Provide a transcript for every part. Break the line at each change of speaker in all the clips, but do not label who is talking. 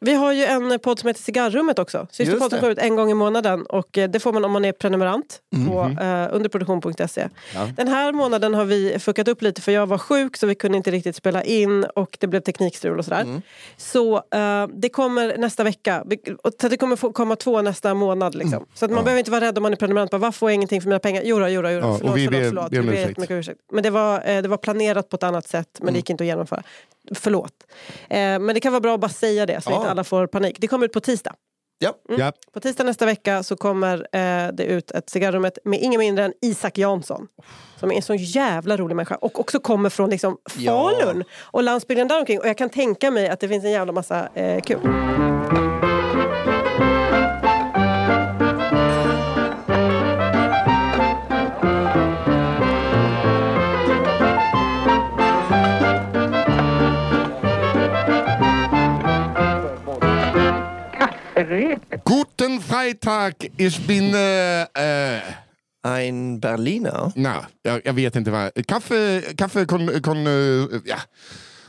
Vi har ju en podd som heter Cigarrummet också.
Just
Systerpodden
det.
går ut en gång i månaden och eh, det får man om man är prenumerant på
Mhm.
eh, underproduktion.se.
Ja.
Den här månaden har vi fuckat upp lite för jag var sjuk så vi kunde inte riktigt spela in och det blev teknikstrul och sådär.
Mm.
Så eh, det kommer nästa vecka. Vi- och Så det kommer få komma två nästa månad. Liksom.
Mm.
Så att man behöver inte vara rädd om man är prenumerant. Bara, Varför får jag ingenting för mina pengar? Jodå, jodå, jodå.
Ja,
förlåt,
och vi
förlåt,
ber-
förlåt.
ber om
Vi
ursäkt.
jättemycket om ursäkt. Men det var, eh, det var planerat på ett annat sätt men det gick inte att genomföra. Förlåt. Eh, men det kan vara bra att bara säga det så
Ja.
inte alla får panik. Det kommer ut på tisdag.
Ja.
Ja.
På tisdag nästa vecka så kommer eh, det ut ett cigarrummet med ingen mindre än Isak Jansson. Som är en sån jävla rolig människa och också kommer från liksom
Ja.
Falun och landsbygden där omkring. Och jag kan tänka mig att det finns en jävla massa eh, kul.
Guten Freitag, ich bin... Äh, äh,
Ein Berliner.
na, jag, jag vet inte vad... Kaffe, kaffe kon... kon eh, ja.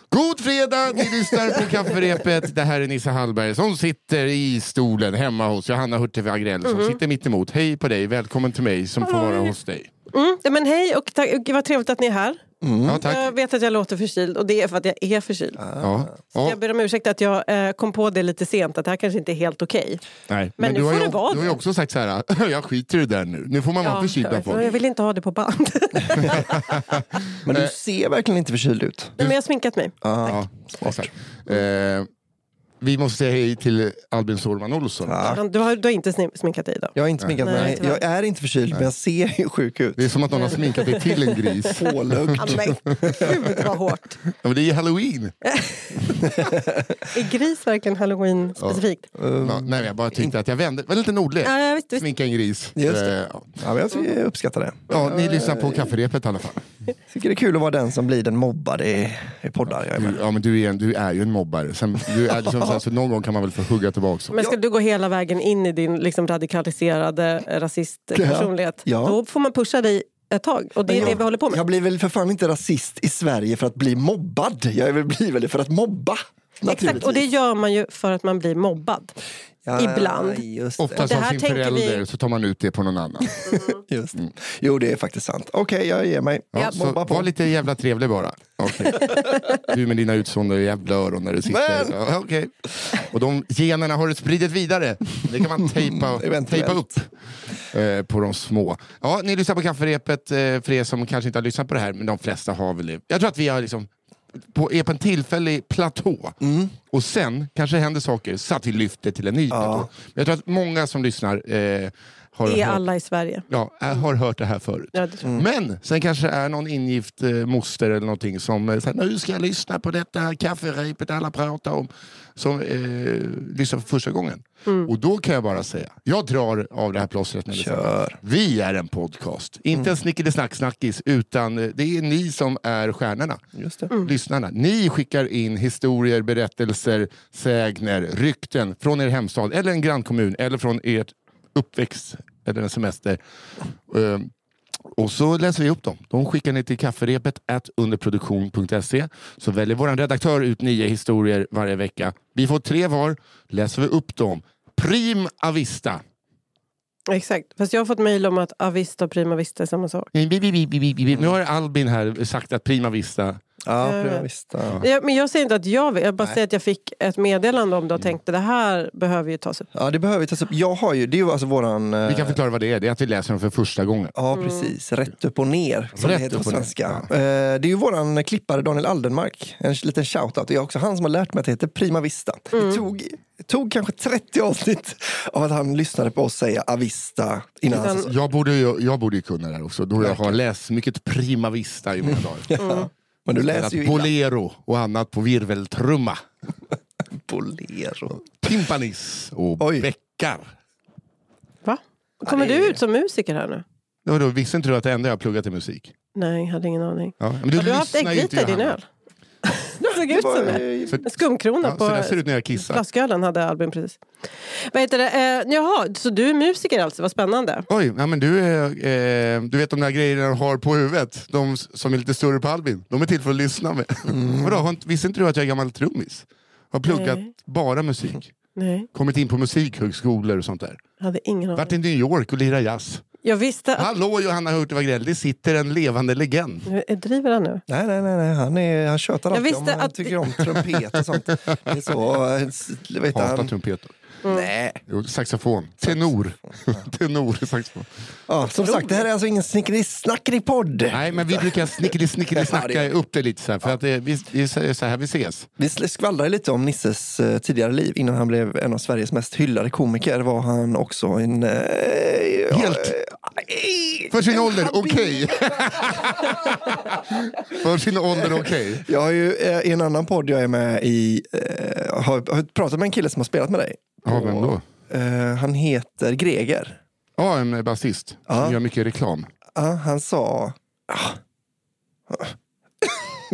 God fredag, ni lyssnar på kafferepet. Det här är Nisse Hallberg som sitter i stolen hemma hos Johanna Hurtig Agrell som
Mm-hmm.
sitter mitt emot. Hej på dig, välkommen till mig som får vara hos dig.
Mm, men hej och tack, vad trevligt att ni är här.
Ja, tack.
Jag vet att jag låter förkyld och det är för att jag är förkyld.
Ja. Ja.
Jag ber om ursäkt att jag eh, kom på det lite sent, att det här kanske inte är helt okej.
Nej.
Men nu
du, har
får
ju,
det vara
du har ju
det.
också sagt så här, jag skiter i det där nu. Nu får man vara förkyld av
jag
folk.
vill inte ha det på band.
Men du ser verkligen inte förkyld ut.
Nej, men jag har sminkat mig.
Ja, exakt. Eh, vi måste säga hej till Albin Sårman Olsson.
Du, har, du har inte snim- sminkat dig idag.
Jag har inte sminkat
Nej,
mig.
tyvärr.
Jag är inte förkyld, men jag ser ju sjuk ut.
Det är som att någon har sminkat dig till en gris. Ja,
Pålögd.
Ah, men gud vad hårt.
men det är ju halloween.
Är gris verkligen halloween specifikt?
Ja, nej, jag bara tyckte att jag vände. Det var lite nordlig.
Um. Ja, ja, visst, visst.
Sminka en gris.
Just det.
Eh, ja.
Ja, men jag tycker- jag uppskattar det.
ja, ni lyssnar på kafferepet i alla fall.
Jag tycker det är kul att vara den som blir den mobbade i, i poddar. Jag är med.
Du, ja, men du, är en, du är ju en mobbare. Sen, du är liksom, så, här, så någon gång kan man väl få hugga tillbaka. också.
Men ska du gå hela vägen in i din liksom, radikaliserade eh, rasistpersonlighet,
Ja.
då får man pusha dig ett tag. Och det är det vi håller på med.
Jag blir väl för fan inte rasist i Sverige för att bli mobbad. Jag är väl- blir väl det för att mobba.
Exakt, och det
naturligtvis.
gör man ju för att man blir mobbad.
Ja,
ibland.
Just det.
Oftast
det
av
här
sin
tänker
förälder
vi-
så tar man ut det på någon annan.
Just. det. Jo, det är faktiskt sant. Okej, jag ger mig.
Mm. Ja, så
Mobba på.
var lite jävla trevlig bara. Okej. Du med dina utsondrade jävla öron när du sitter.
Men-
Ja, okej. Och de generna har du spridit vidare. Det kan man tejpa,
Eventuellt.
tejpa upp eh, på de små. Ja, ni lyssnar på kafferepet, eh, för er som kanske inte har lyssnat på det här, men de flesta har väl det. Jag tror att vi har liksom på, är på en tillfällig platå.
Mm.
Och sen kanske händer saker så att vi lyfter till en ny platå. Men Jag tror att många som lyssnar eh, har
Det är
hört-
alla i
Mm.
Sverige.
Ja, jag har hört det här förut.
Ja, det tror
Men sen kanske det är någon ingift eh, moster eller någonting som eh, säger nu ska jag lyssna på detta kafferepet alla pratar om. Som eh, lyssnar för första gången. Och då kan jag bara säga, jag drar av det här plåstret. när det
Kör.
vi är en podcast. Inte en snickidesnacksnackis, utan eh, det är ni som är stjärnorna.
Just
Mm.
det.
Lyssnarna. Ni skickar in historier, berättelser, sägner, rykten från er hemstad eller en grannkommun eller från ert uppväxt eller en semester. Ehm, och så läser vi upp dem. De skickar ni till kafferepet at underproduktion.se. Så väljer vår redaktör ut nio historier varje vecka. Vi får tre var. Läser vi upp dem. Prim avista.
Exakt. Fast jag har fått mejl om att avista och prima vista är samma sak.
Bi, bi, bi, bi, bi, bi. Nu har Albin här sagt att Prima Vista...
Ja,
Jag
bra,
vet.
visst. Ja.
Ja, men jag säger inte att jag vet. Jag bara säger att jag fick ett meddelande om det
Mm.
och tänkte det här behöver ju tas upp.
ja, det behöver vi tas upp. Jag har ju, det är ju alltså våran... eh,
Vi kan förklara vad det är. Det är att vi läser dem för första gången.
Ja, precis. Rätt upp och ner, som
Mm. Rätt
det heter på
upp och ner,
svenska. Eh, Det är ju våran klippare Daniel Aldenmark. En liten shoutout. Det är också han som har lärt mig att det heter Prima Vista. Det
Mm.
tog, tog kanske 30 avsnitt av att han lyssnade på oss säga Avista innan han
Utan-
sa så.
Jag borde, ju, jag borde ju kunna det här också, då jag har läst mycket Prima Vista i
Mm.
mina dagar.
Men du
Spelat
läser ju illa.
Bolero och annat på virveltrumma.
Bolero.
Timpanis och
Oj.
bäckar.
Va? Kommer
det är-
du ut som musiker här nu?
Ja, då visste inte du att det enda jag pluggat är musik?
Nej, jag hade ingen aning.
Ja. Men du
Har du haft
lyssnar ju inte,
äggvita i din
Johanna.
öl? Det såg ut som det.
Eh,
Så,
En skumkrona
ja, så där ser det
på
ut när jag kissar.
flaskölen hade Albin precis. Vad heter det? Eh, jaha, så du är musiker alltså? Vad spännande.
Oj, ja, men du, är, eh, du vet de där grejerna du har på huvudet, de s- som är lite större på Albin, de är till för att lyssna med. Vadå, har inte- visste inte du att jag är gammal trummis? Har Har pluggat
Mm. Nej.
bara musik.
Nej,
Kommit in på musikhögskolor och sånt där.
jag hade ingen aning.
Varit i New York och lirat jazz.
Jag visste att...
Hallå Johanna Hurtig Wagrell, det sitter en levande legend.
Nu- Driver han nu?
Nej, nej, nej, nej. han, är, han tjötar
Jag
alltid om,
visste
han
att-
tycker om trumpet och sånt. Det är så, eh, s- vet
Hatar
han.
trumpeter.
Nej.
Jo, saxofon. Tenor. Tenor saxofon.
Ja, som sagt, det här är alltså ingen snickeri-snackeri-podd.
Nej, men vi brukar snickeli snickeli snacka upp det lite så här. För att det, vi, det är så här vi ses.
Vi sl- skvallrade lite om Nisses eh, tidigare liv innan han blev en av Sveriges mest hyllade komiker. Var han också en... eh, ja,
Helt.
eh,
För sin
en
ålder,
habil-
okej. För sin ålder, okej.
Jag har ju eh, i en annan podd jag är med i, eh, har, har pratat med en kille som har spelat med dig.
Ja, vem då?
Eh, han heter Greger.
Ja, en eh, basist
Ja.
som gör mycket reklam.
Ja, han sa... Ah.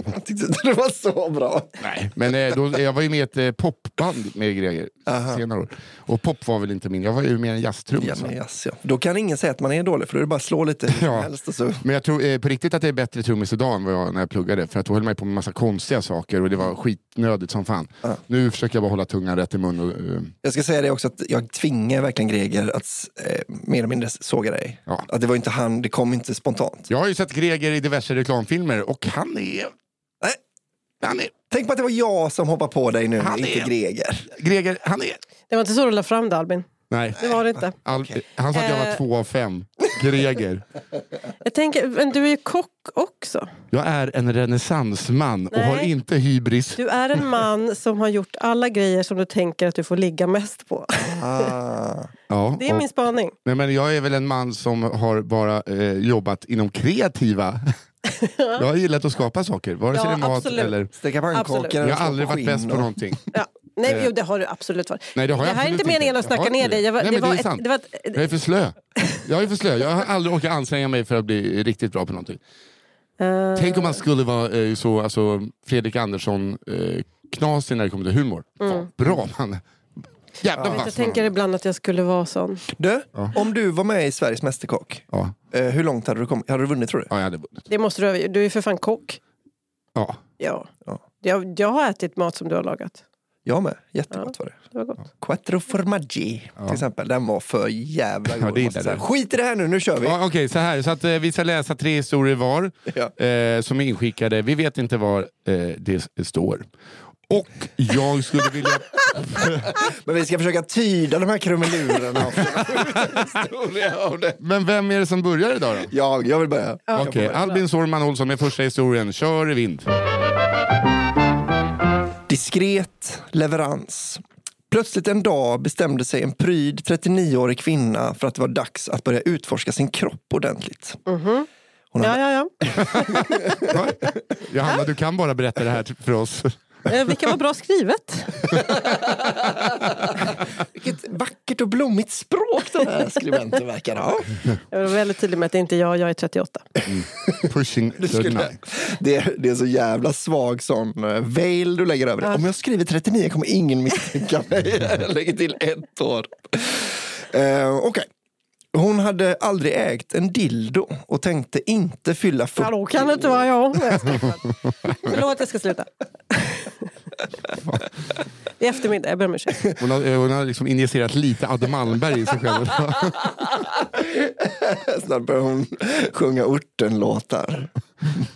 Han tyckte inte det var så bra.
Nej. Men eh, då, jag var ju med i ett eh, popband med Greger
Aha.
senare år. Och pop var väl inte min, jag var ju mer en
Ja,
jazztrummis.
men, yes, ja. Då kan ingen säga att man är dålig, för då är det bara att slå lite hur som
Ja.
helst. Och så.
Men jag tror eh, på riktigt att det är bättre trummis idag än vad jag, när jag pluggade. För att då höll man ju på med massa konstiga saker och det var skitnödigt som fan.
Ja.
Nu försöker jag bara hålla tungan rätt i mun. Och, eh,
Jag ska säga det också att jag tvingar verkligen Greger att eh, mer eller mindre såga dig.
Ja.
Att det var inte han, det kom inte spontant.
jag har ju sett Greger i diverse reklamfilmer och han är...
Nej.
Han är...
Tänk på att det var jag som hoppade på dig nu,
Han
inte
är-
Greger.
Greger, han är...
Det var inte så du la fram det, Albin.
Nej.
Det var det inte.
Al- Han sa att jag var
Eh.
två av fem. Greger.
Jag tänker, men du är ju kock också.
Jag är en renässansman och
Nej.
har inte hybris.
Du är en man som har gjort alla grejer som du tänker att du får ligga mest på.
Ah.
Ja,
Det är
och-
min spaning.
Nej, men jag är väl en man som har bara eh, jobbat inom kreativa. jag har gillat att skapa saker, vare sig
Ja,
det är mat
absolut.
eller...
Steka pannkakor.
Absolut.
och
Jag
slå
har aldrig varit
skinn
bäst på
och-
någonting.
Ja. Nej,
Eh.
jo, det har du absolut varit.
Nej, det har
det
jag
här är
absolut
inte meningen att
Jag har
snacka ner
inte
dig. Jag var, det,
Nej, men
var
det är sant.
ett, det var ett,
Jag är för slö. Jag är för slö. Jag har aldrig orkat anstränga mig för att bli riktigt bra på någonting.
eh,
Tänk om man skulle vara eh, så, alltså, Fredrik Andersson eh, knasig när det kommer till humor. Fan, bra man. Jävla vass
jag
man.
tänker ibland att jag skulle vara sån.
Du, om du var med i Sveriges Mästerkock,
Ja,
eh, hur långt hade du kommit? Hade du vunnit tror du?
ja, jag hade vunnit.
Det måste du, du är ju för fan kock.
Ja.
Ja.
Ja.
Jag, jag har ätit mat som du har lagat.
Jag med. Jättegott var det.
Det var gott.
Quattro formaggi till exempel. Den var för jävla god.
det
måste jag
gillar
säga.
du.
Skit i det här nu, nu kör vi.
Ja, Okej, så här. Så att, eh, vi ska läsa tre historier var
Ja.
eh, som är inskickade. Vi vet inte var eh, det s- står. Och jag skulle vilja...
Men vi ska försöka tyda de här krumelurerna.
Men vem är det som börjar idag då?
jag, jag vill börja.
Okej, Albin Sorman Olsson med första historien. Kör i vind.
Diskret leverans. Plötsligt en dag bestämde sig en pryd 39-årig kvinna för att det var dags att börja utforska sin kropp ordentligt.
Ja, ja, ja.
Va? Johanna, du kan bara berätta det här t- för oss.
Eh, Vilket var bra skrivet.
Vilket vackert och blommigt språk den här skribenten verkar ha.
Jag var väldigt tydlig med att det inte är jag, jag är 38.
Pushing
Du skulle-
39.
Det, det är så jävla svag sån eh, veil du lägger över det. Om jag skriver 39 kommer ingen misstänka mig. Jag lägger till ett år. Eh, Okej. Hon hade aldrig ägt en dildo och tänkte inte fylla 40.
Hallå, kan det inte vara jag? Nej, jag skojar. Förlåt, jag ska sluta. I eftermiddag, jag ber om ursäkt.
Hon har, eh, hon har liksom injicerat lite Adam Malmberg i sig själv.
Snart börjar hon sjunga ortenlåtar.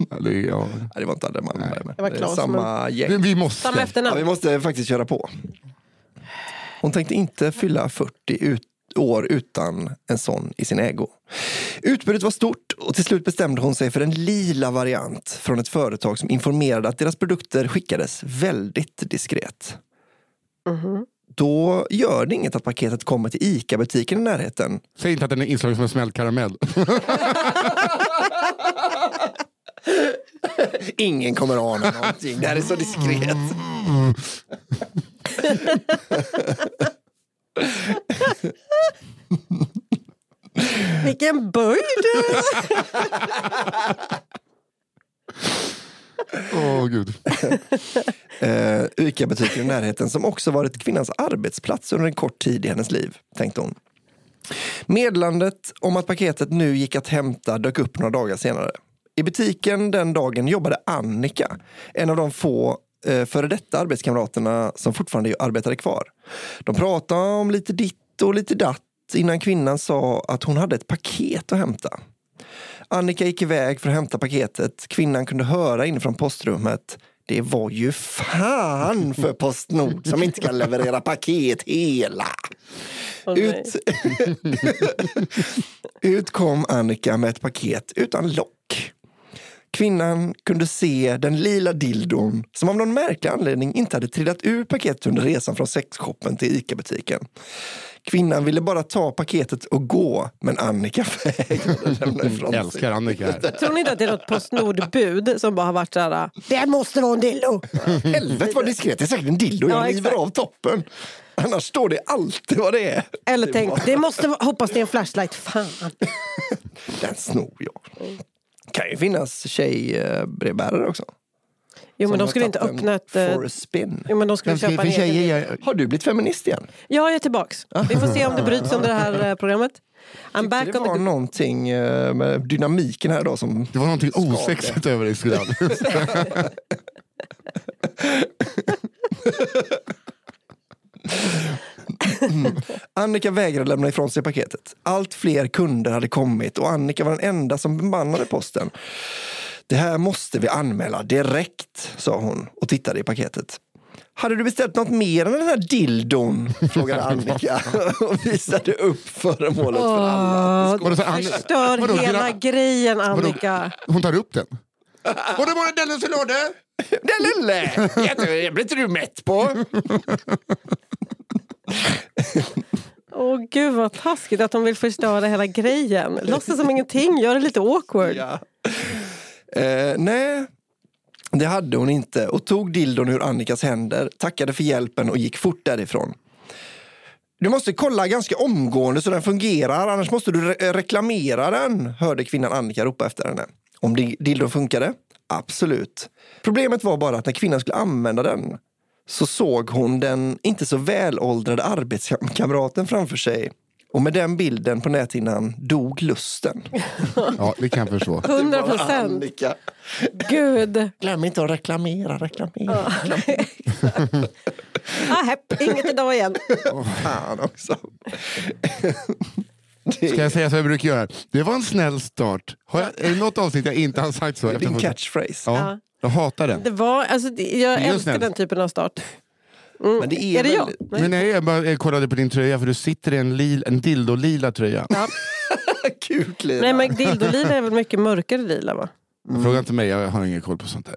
Ja, det är- ja.
Nej, det var inte Adde Malmberg. men
Det var
det är
Claes,
samma
Men
gäng.
Vi måste.
Samma
Ja,
efternamn.
vi måste faktiskt köra på. Hon tänkte inte fylla 40 ut, år utan en sån i sin ägo. Utbudet var stort och till slut bestämde hon sig för en lila variant från ett företag som informerade att deras produkter skickades väldigt diskret. Då gör det inget att paketet kommer till ICA-butiken i närheten
Säg inte att den är inslagen som en smält karamell.
Ingen kommer ana någonting. Det här är så diskret.
Vilken böjd!
Åh gud.
Eh, Ica-butiken i närheten som också varit kvinnans arbetsplats under en kort tid i hennes liv, tänkte hon. Meddelandet om att paketet nu gick att hämta dök upp några dagar senare. I butiken den dagen jobbade Annika, en av de få eh, före detta arbetskamraterna som fortfarande arbetade kvar. De pratade om lite ditt och lite datt innan kvinnan sa att hon hade ett paket att hämta. Annika gick iväg för att hämta paketet. Kvinnan kunde höra inifrån postrummet det var ju fan för Postnord som inte kan leverera paket hela.
Åh, nej.
Ut... Ut kom Annika med ett paket utan lock. Kvinnan kunde se den lila dildon som av någon märklig anledning inte hade trillat ur paketet under resan från sexshoppen till Ica-butiken. Kvinnan ville bara ta paketet och gå, men Annika vägrade lämna ifrån sig.
Älskar Annika här.
Tror ni inte att det är något Postnordbud som bara har varit så här... Det måste vara en dildo!
Helvete vad diskret, det är säkert en dildo. Jag
Ja,
river
exakt.
av toppen. Annars står det alltid vad det är.
Eller tänkt, det måste vara, hoppas det är en flashlight. Fan!
Den snor jag. kan ju finnas tjejbrevbärare också.
Jo,
som
men
har
de skulle inte
tagit en
öppna ett... eh,
For a spin.
Jo, men de skulle
Vem
köpa
skriver
en
för
egen
tjejer?
dildo.
Jag-
Har du blivit feminist igen?
Ja, jag är tillbaks. Vi får se om det bryts under det här eh, programmet. I'm back
Det
on the...
var
good-
någonting eh, med dynamiken här då som...
Det var någonting osexigt över dig skulle jag
Annika vägrade lämna ifrån sig paketet. Allt fler kunder hade kommit och Annika var den enda som bemannade posten. Det här måste vi anmäla direkt, sa hon och tittade i paketet. Hade du beställt något mer än den här dildon? frågade Annika och visade upp föremålet för alla.
Vadå, så Ann-
Förstör
vadå,
hela
gra-
grejen, Annika.
Hon tar upp den. Och det var Dennis i lådan!
Den lille! Det blir inte du mätt på.
Åh gud vad taskigt att de vill förstöra hela grejen. Låtsas som ingenting, gör det lite awkward.
Ja. Eh, nej, det hade hon inte och tog dildon ur Annikas händer, tackade för hjälpen och gick fort därifrån. Du måste kolla ganska omgående så den fungerar, annars måste du re- reklamera den, hörde kvinnan Annika ropa efter henne. Om di- dildon funkade? Absolut. Problemet var bara att när kvinnan skulle använda den så såg hon den inte så välåldrade arbetskamraten framför sig. Och med den bilden på näthinnan dog lusten.
Ja, det kan jag förstå.
100 procent.
Annika.
Gud.
Glöm inte att reklamera, reklamera.
Ah, hepp, inget idag igen.
Fan också. Det
Ska
är
jag säga så jag brukar göra? Det var en snäll start. Har jag, är det något avsnitt jag inte har sagt så?
din catchphrase.
Ja, jag hatar den.
Det var, alltså, det- jag
Just
älskar
snällt.
den typen av start.
Men det Mm. är,
Är det jag?
väldigt-
Nej.
Men nej, jag bara jag kollade på din tröja för du sitter i en, lil, en dildo-lila tröja.
Kuk, Lina.
Nej men dildolila är väl mycket mörkare lila va?
Fråga inte mig, jag har ingen koll på sånt där.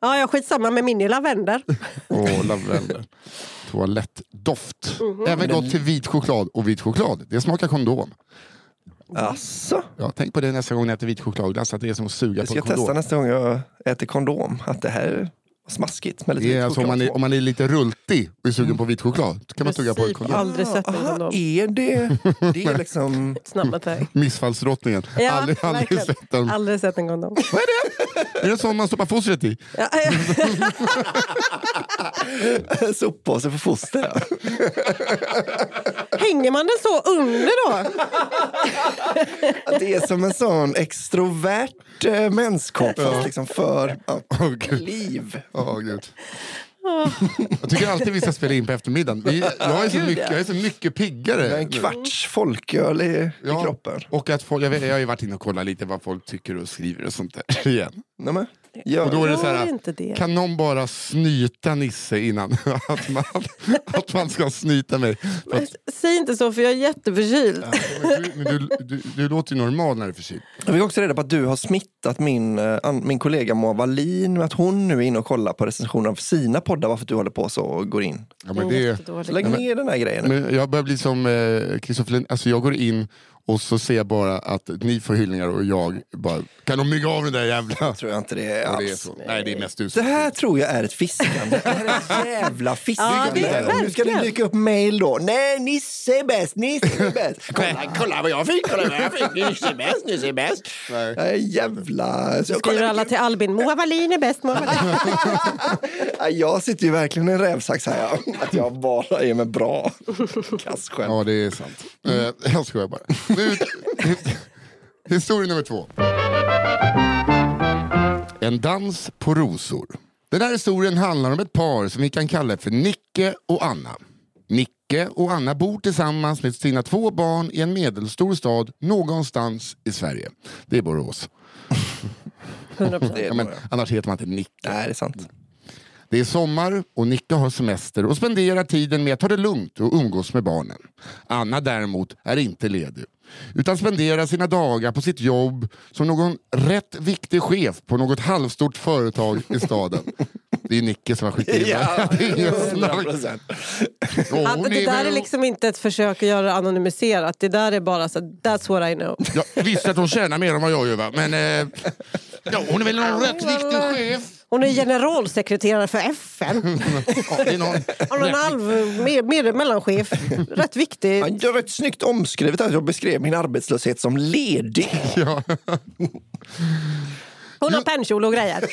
Ja, jag skitsamma med min lilla vänder.
Och lavendel. Toalettdoft. Även gott till vit choklad. Och vit choklad, det smakar kondom.
Asså.
Ja, tänk på det nästa gång ni äter vitchokladglass, att det är som att suga
Jag
på
ska
en
testa
kondom.
nästa gång jag äter kondom att det här är smaskigt med lite
Det är alltså om, man är, om man är lite rultig och är sugen på vit choklad, då kan man tugga på en
Precis,
kondom.
aldrig sett en
Aha,
kondom.
är det... Det är liksom...
Snabbt här.
Missfallsdrottningen.
Ja,
aldrig, aldrig
verkligen.
sett den.
Aldrig sett en kondom.
Är det sån man stoppar fostret i?
Ja, ja.
Soppåse för foster.
Hänger man den så under då?
Att det är som en sån extrovert eh, menskopp fast liksom för ja,
Åh, gud.
liv.
Åh, gud. Jag tycker alltid vi ska spela in på eftermiddagen. Vi, jag, är så mycket, jag är så mycket
Det är
piggare.
en kvarts folköl i, i
Ja,
kroppen.
Och att folk, jag, vet, jag har ju varit inne och kollat lite vad folk tycker och skriver och sånt där igen.
Nej, men, gör
Och då är det
Gör
så här,
inte det.
kan någon bara snyta Nisse innan att man, att man ska snyta mig? För att,
Säg inte så för jag är jätteförkyld.
men du, men du, du, du låter ju normal när du är förkyld.
Jag fick också reda på att du har smittat min, eh, an- min kollega Moa Wallin med att hon nu är inne och kollar på recensioner av sina poddar varför du håller på så och går in.
Ja, men
Jag är
det,
jättedålig.
Så lägg ner den här grejen. nu.
men jag börjar bli som eh, Kristoffer Lind. Alltså jag går in och så ser jag bara att ni får hyllningar och jag bara, kan de mygga av den där jävla...
tror jag inte det är
Ja, det, är
alls.
så. Nej, det är mest du
Det
som-
här tror jag är ett fiskande. Det här är ett jävla
Ja,
fiskande.
det är det
nu ska det
verkligen.
dyka upp mail då. Nej, Nisse är bäst, Nisse är bäst. Kolla, kolla vad jag fick, kolla vad jag fick. Nisse är bäst, Nisse är bäst.
Nej.
Nej, jävla... Så jag,
Skriver
kolla,
alla till Albin. Moa Wallin är bäst. Moa Wallin.
Ja, jag sitter ju verkligen i en rävsax här. ja. Att jag bara är med bra. Kassskämt.
Ja, det är sant. Eh, Jag skojar bara. Nu, historia nummer två. En dans på rosor. Den här historien handlar om ett par som vi kan kalla för Nicke och Anna. Nicke och Anna bor tillsammans med sina två barn i en medelstor stad någonstans i Sverige. Det är Borås.
100
Det
Ja,
är
men,
bara-
annars heter man inte Nicke.
Nej, det är sant.
Det är sommar och Nicke har semester och spenderar tiden med att ta det lugnt och umgås med barnen. Anna däremot är inte ledig utan spenderar sina dagar på sitt jobb som någon rätt viktig chef på något halvstort företag i staden. Det är Nicke som har skickat in
Ja,
det. är ingen snack.
100%.
Och hon
Att det
är
där
väl-
är liksom inte ett försök att göra det anonymiserat. Det där är bara så that's what I know.
Ja, visst att hon tjänar mer än vad jag gör va? men eh, ja, hon är väl någon rätt viktig chef.
Hon är generalsekreterare för
Mm.
FN.
Ja, det är någon
Hon är en halv med, med, mellanchef. Rätt viktig.
Han gör ett snyggt omskrivet att jag beskrev min arbetslöshet som ledig.
Hon har pennkjol och grejer.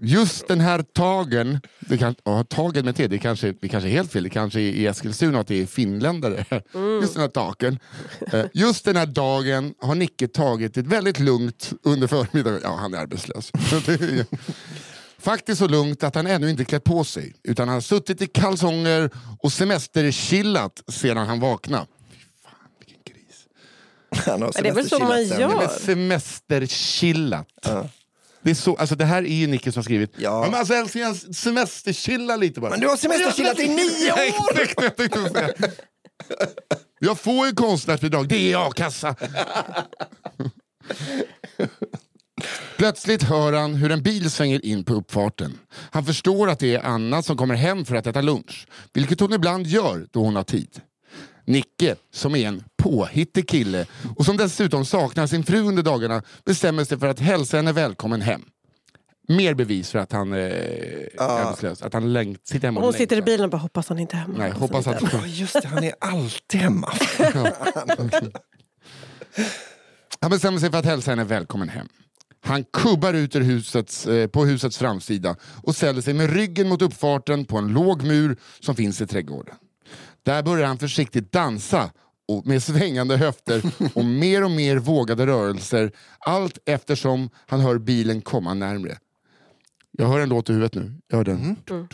Just den här tagen, det kan, ja, tagen med T, det kanske, det kanske är helt fel, det kanske är i Eskilstuna att det är finländare. Just den här taken. Eh, Just den här dagen har Nicke tagit det väldigt lugnt under förmiddagen. Ja, han är arbetslös. Det är ju- Faktiskt så lugnt att han ännu inte klätt på sig utan han har suttit i kalsonger och semesterchillat sedan han vaknade. Fy fan, vilken gris.
Han har
Men det är väl så
semesterchillat
man gör.
Ja,
sen.
men semesterchillat. Det, är så, alltså det här är ju Nicke som har skrivit.
Ja.
men alltså älskling, jag semesterchilla lite bara.
Men du har semesterchillat i nio
Ja,
år!
Exakt, jag tänkte säga. Jag får ju konstnärsbidrag, det är a-kassa. Plötsligt hör han hur en bil svänger in på uppfarten. Han förstår att det är Anna som kommer hem för att äta lunch. Vilket hon ibland gör då hon har tid. Nicke, som är en påhittig kille och som dessutom saknar sin fru under dagarna bestämmer sig för att hälsa henne välkommen hem. Mer bevis för att han eh, är arbetslös. Att han läng- sitter hemma och
Hon sitter i
längtar.
bilen och bara hoppas han inte är hemma.
Nej, hoppas att...
Ja, just det, han är alltid hemma.
Han bestämmer sig för att hälsa henne välkommen hem. Han kubbar ut ur husets, eh, på husets framsida och ställer sig med ryggen mot uppfarten på en låg mur som finns i trädgården. Där börjar han försiktigt dansa och med svängande höfter och mer och mer vågade rörelser allt eftersom han hör bilen komma närmre. Jag hör en låt i huvudet nu. Jag hör den.
Mhm.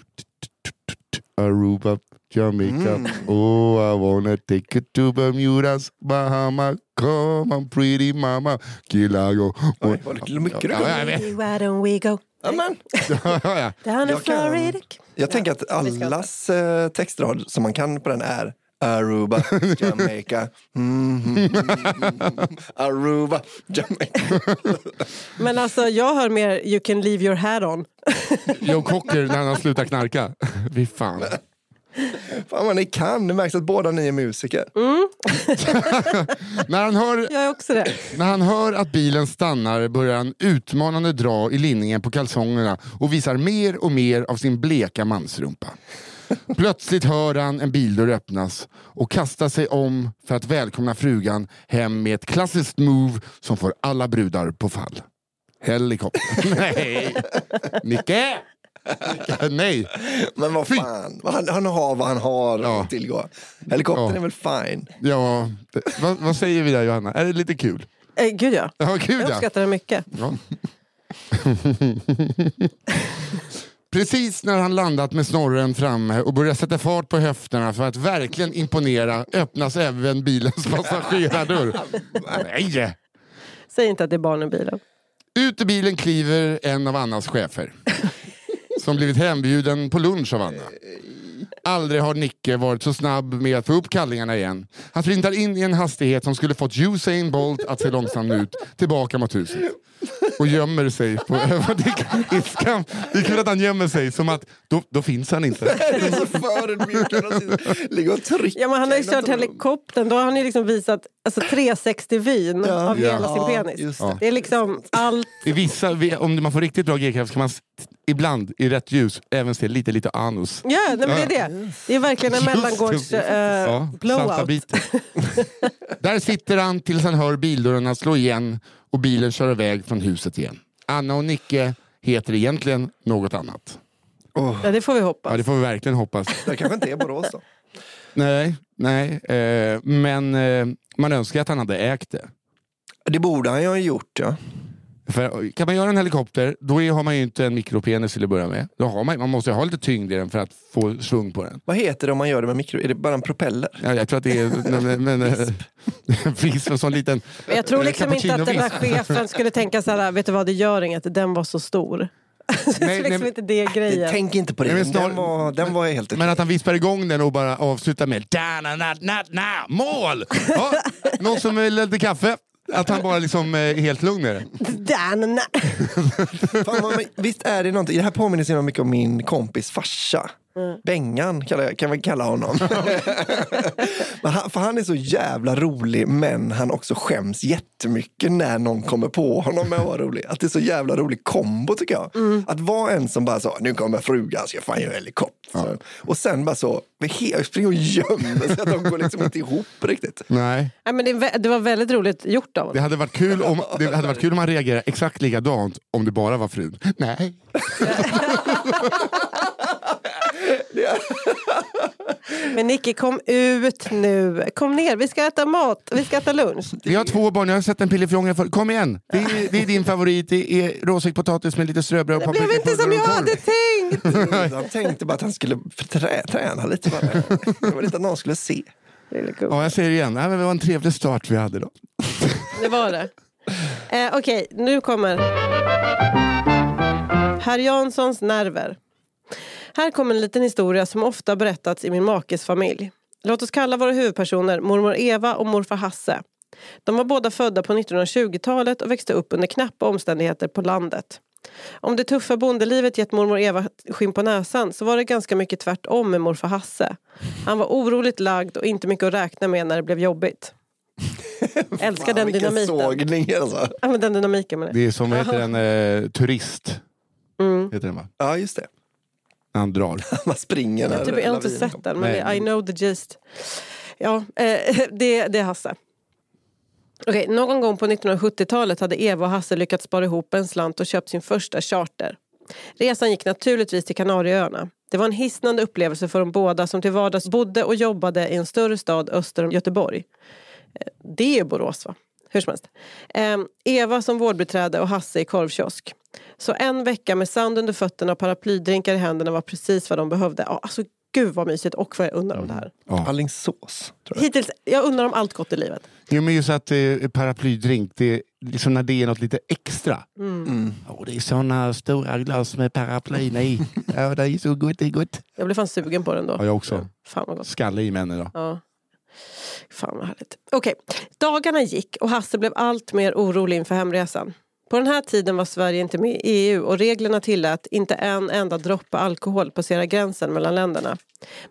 Aruba, Jamaica.
Mm.
Oh, I wanna take you to Bermudas, Bahama. Come on pretty mama, Kilago.
Oj, vad mycket du
Ja,
ja,
jag vet.
Why don't we go
men,
Ja, ja.
down to
Jag kan-
Florida?
Jag tänker att allas eh, textrad som man kan på den är Aruba, Jamaica. Mm, mm, mm, mm. Aruba, Jamaica.
Men alltså, jag hör mer You can leave your hat on.
Joe Cocker när han slutar knarka. Fy fan.
Fan vad ni kan, det märks att båda ni är musiker.
Mm. När han, hör,
Jag är också det.
när han hör att bilen stannar börjar han utmanande dra i linningen på kalsongerna och visar mer och mer av sin bleka mansrumpa. Plötsligt hör han en bildörr öppnas och kastar sig om för att välkomna frugan hem med ett klassiskt move som får alla brudar på fall. Helikopter. Nej! Nicke! Nej!
Men vad fan, vad han, han har vad han har
Ja.
att tillgå. Helikoptern
Ja.
är väl fine?
Ja, det- vad, vad säger vi där Johanna? Är det lite kul?
Eh, gud ja.
Ja, gud
Jag
ja.
uppskattar det mycket.
Ja. Precis när han landat med snorren framme och börjar sätta fart på höfterna för att verkligen imponera öppnas även bilens passagerardörr. Nej!
Säg inte att det är barn i bilen.
Ut ur bilen kliver en av Annas chefer. Som blivit hembjuden på lunch av Anna. Aldrig har Nicke varit så snabb med att få upp kallingarna igen. Han sprintar in i en hastighet som skulle fått Usain Bolt att se långsam ut tillbaka mot huset. Och gömmer sig. På, det, är skam, det är kul att han gömmer sig, som att då, då finns han inte.
Det är så förödmjukande att sitta- ligga och trycka.
Ja, men han har ju
i något
kört
rum.
helikoptern. Då har han ju liksom visat alltså, 360 vyn av
Ja.
hela sin
Ja,
penis.
just det.
Det är liksom allt.
I vissa, om man får riktigt bra g-kraft kan man s- ibland i rätt ljus även se lite, lite anus.
Ja, nej, men det är det. Det är verkligen en
Just det.
mellangårds eh,
Ja, salta
blowout.
biten. Där sitter han tills han hör bildörrarna slå igen och bilen kör iväg från huset igen. Anna och Nicke heter egentligen något annat.
Ja, det får vi
Ja,
hoppas.
det får vi verkligen hoppas.
Det kanske inte är Borås då.
Nej, nej. Eh, men eh, man önskar att han hade ägt det.
Det borde han ju ha gjort ja.
För kan man göra en helikopter, då är, har man ju inte en mikropenis till att börja med. Då har man, man måste ju ha lite tyngd i den för att få svung på den.
Vad heter det om man gör det med mikro? Är det bara en propeller?
Ja, jag tror att det är men, men, en visp, en sån liten
Men jag tror
eh,
liksom inte att den där
cappuccinovisp.
chefen skulle tänka så här, vet du vad det gör inget, den var så stor. det är
nej,
liksom
men-
inte det grejen.
Tänk inte på det.
Nej, men snar-
den, var, den var helt
Men att han vispar igång den och bara avslutar med da, na, na, na, na, mål! Ja, någon som vill ha lite kaffe? Att han bara liksom eh, är helt lugn med det.
Den,
Fan, vad- men visst är det någonting? Det här påminner så himla mycket om min kompis farsa. Bengan kallar jag, kan vi kalla honom. men han, för han är så jävla rolig men han också skäms jättemycket när någon kommer på honom med att vara rolig. Att det är så jävla rolig kombo tycker jag. Att vara en som bara sa nu kommer frugan ska fan göra helikopter. Och sen bara så he- springer och gömmer sig. Att de går liksom inte ihop riktigt.
Nej.
nej, men det, är vä- det var väldigt roligt gjort av
Det
honom.
hade varit kul om, det hade varit kul om han reagerade exakt likadant om det bara var frun. Nej.
Men Nicky, kom ut nu. Kom ner, vi ska äta mat, vi ska äta lunch.
Vi har två barn, jag har sett en pillefråga för. Kom igen! Det är, det är din favorit, det är råstekt potatis med lite ströbröd och
Det blev inte som
paprikapulver
jag
och
hade
korv.
tänkt!
Han tänkte bara att han skulle trä, träna lite bara. Det var lite att någon skulle se.
Det är lite gott.
Ja, jag säger det igen, Nej, men det var en trevlig start vi hade då.
Det var det. Eh, Okej, nu kommer... Herr Janssons nerver. Här kommer en liten historia som ofta berättats i min makes familj. Låt oss kalla våra huvudpersoner mormor Eva och morfar Hasse. De var båda födda på 1920-talet och växte upp under knappa omständigheter på landet. Om det tuffa bondelivet gett mormor Eva skinn på näsan så var det ganska mycket tvärtom med morfar Hasse. Han var oroligt lagd och inte mycket att räkna med när det blev jobbigt. Älskar den
vilken
dynamiten.
sågning alltså.
Ja, men den dynamiken med det.
Det är som, vad heter den, eh, turist.
Mm.
Heter den va?
Ja, just det.
När han drar.
Man springer när
Jag, typ, jag har inte
lavinen
sett
kommer.
den, men
Nej.
det, I know the gist. Ja, eh, det, det är Hasse. Okej, någon gång på 1970-talet hade Eva och Hasse lyckats spara ihop en slant och köpt sin första charter. Resan gick naturligtvis till Kanarieöarna. Det var en hisnande upplevelse för de båda som till vardags bodde och jobbade i en större stad öster om Göteborg. Eh, Det är Borås, va? Hur som helst. Ehm, Eva som vårdbiträde och Hasse i korvkiosk. Så en vecka med sand under fötterna och paraplydrinkar i händerna var precis vad de behövde. Ja, alltså, gud vad mysigt och vad jag undrar om det här.
Ja.
Alingsås,
Mm.
tror jag.
Hittills, jag undrar om allt gott i livet.
Jo, men just att eh, paraplydrink, det är liksom när det är något lite extra.
Mm.
Åh, det är såna stora glas med paraplyn i. Ja, det är så gott, det är gott.
Jag blev fan sugen på den då.
Ja, jag också.
Fan vad gott.
Skalle i männen då.
Ja. Fan vad härligt. Okej, dagarna gick och Hasse blev allt mer orolig inför hemresan. På den här tiden var Sverige inte med i EU och reglerna tillät inte en enda droppe alkohol passera gränsen mellan länderna.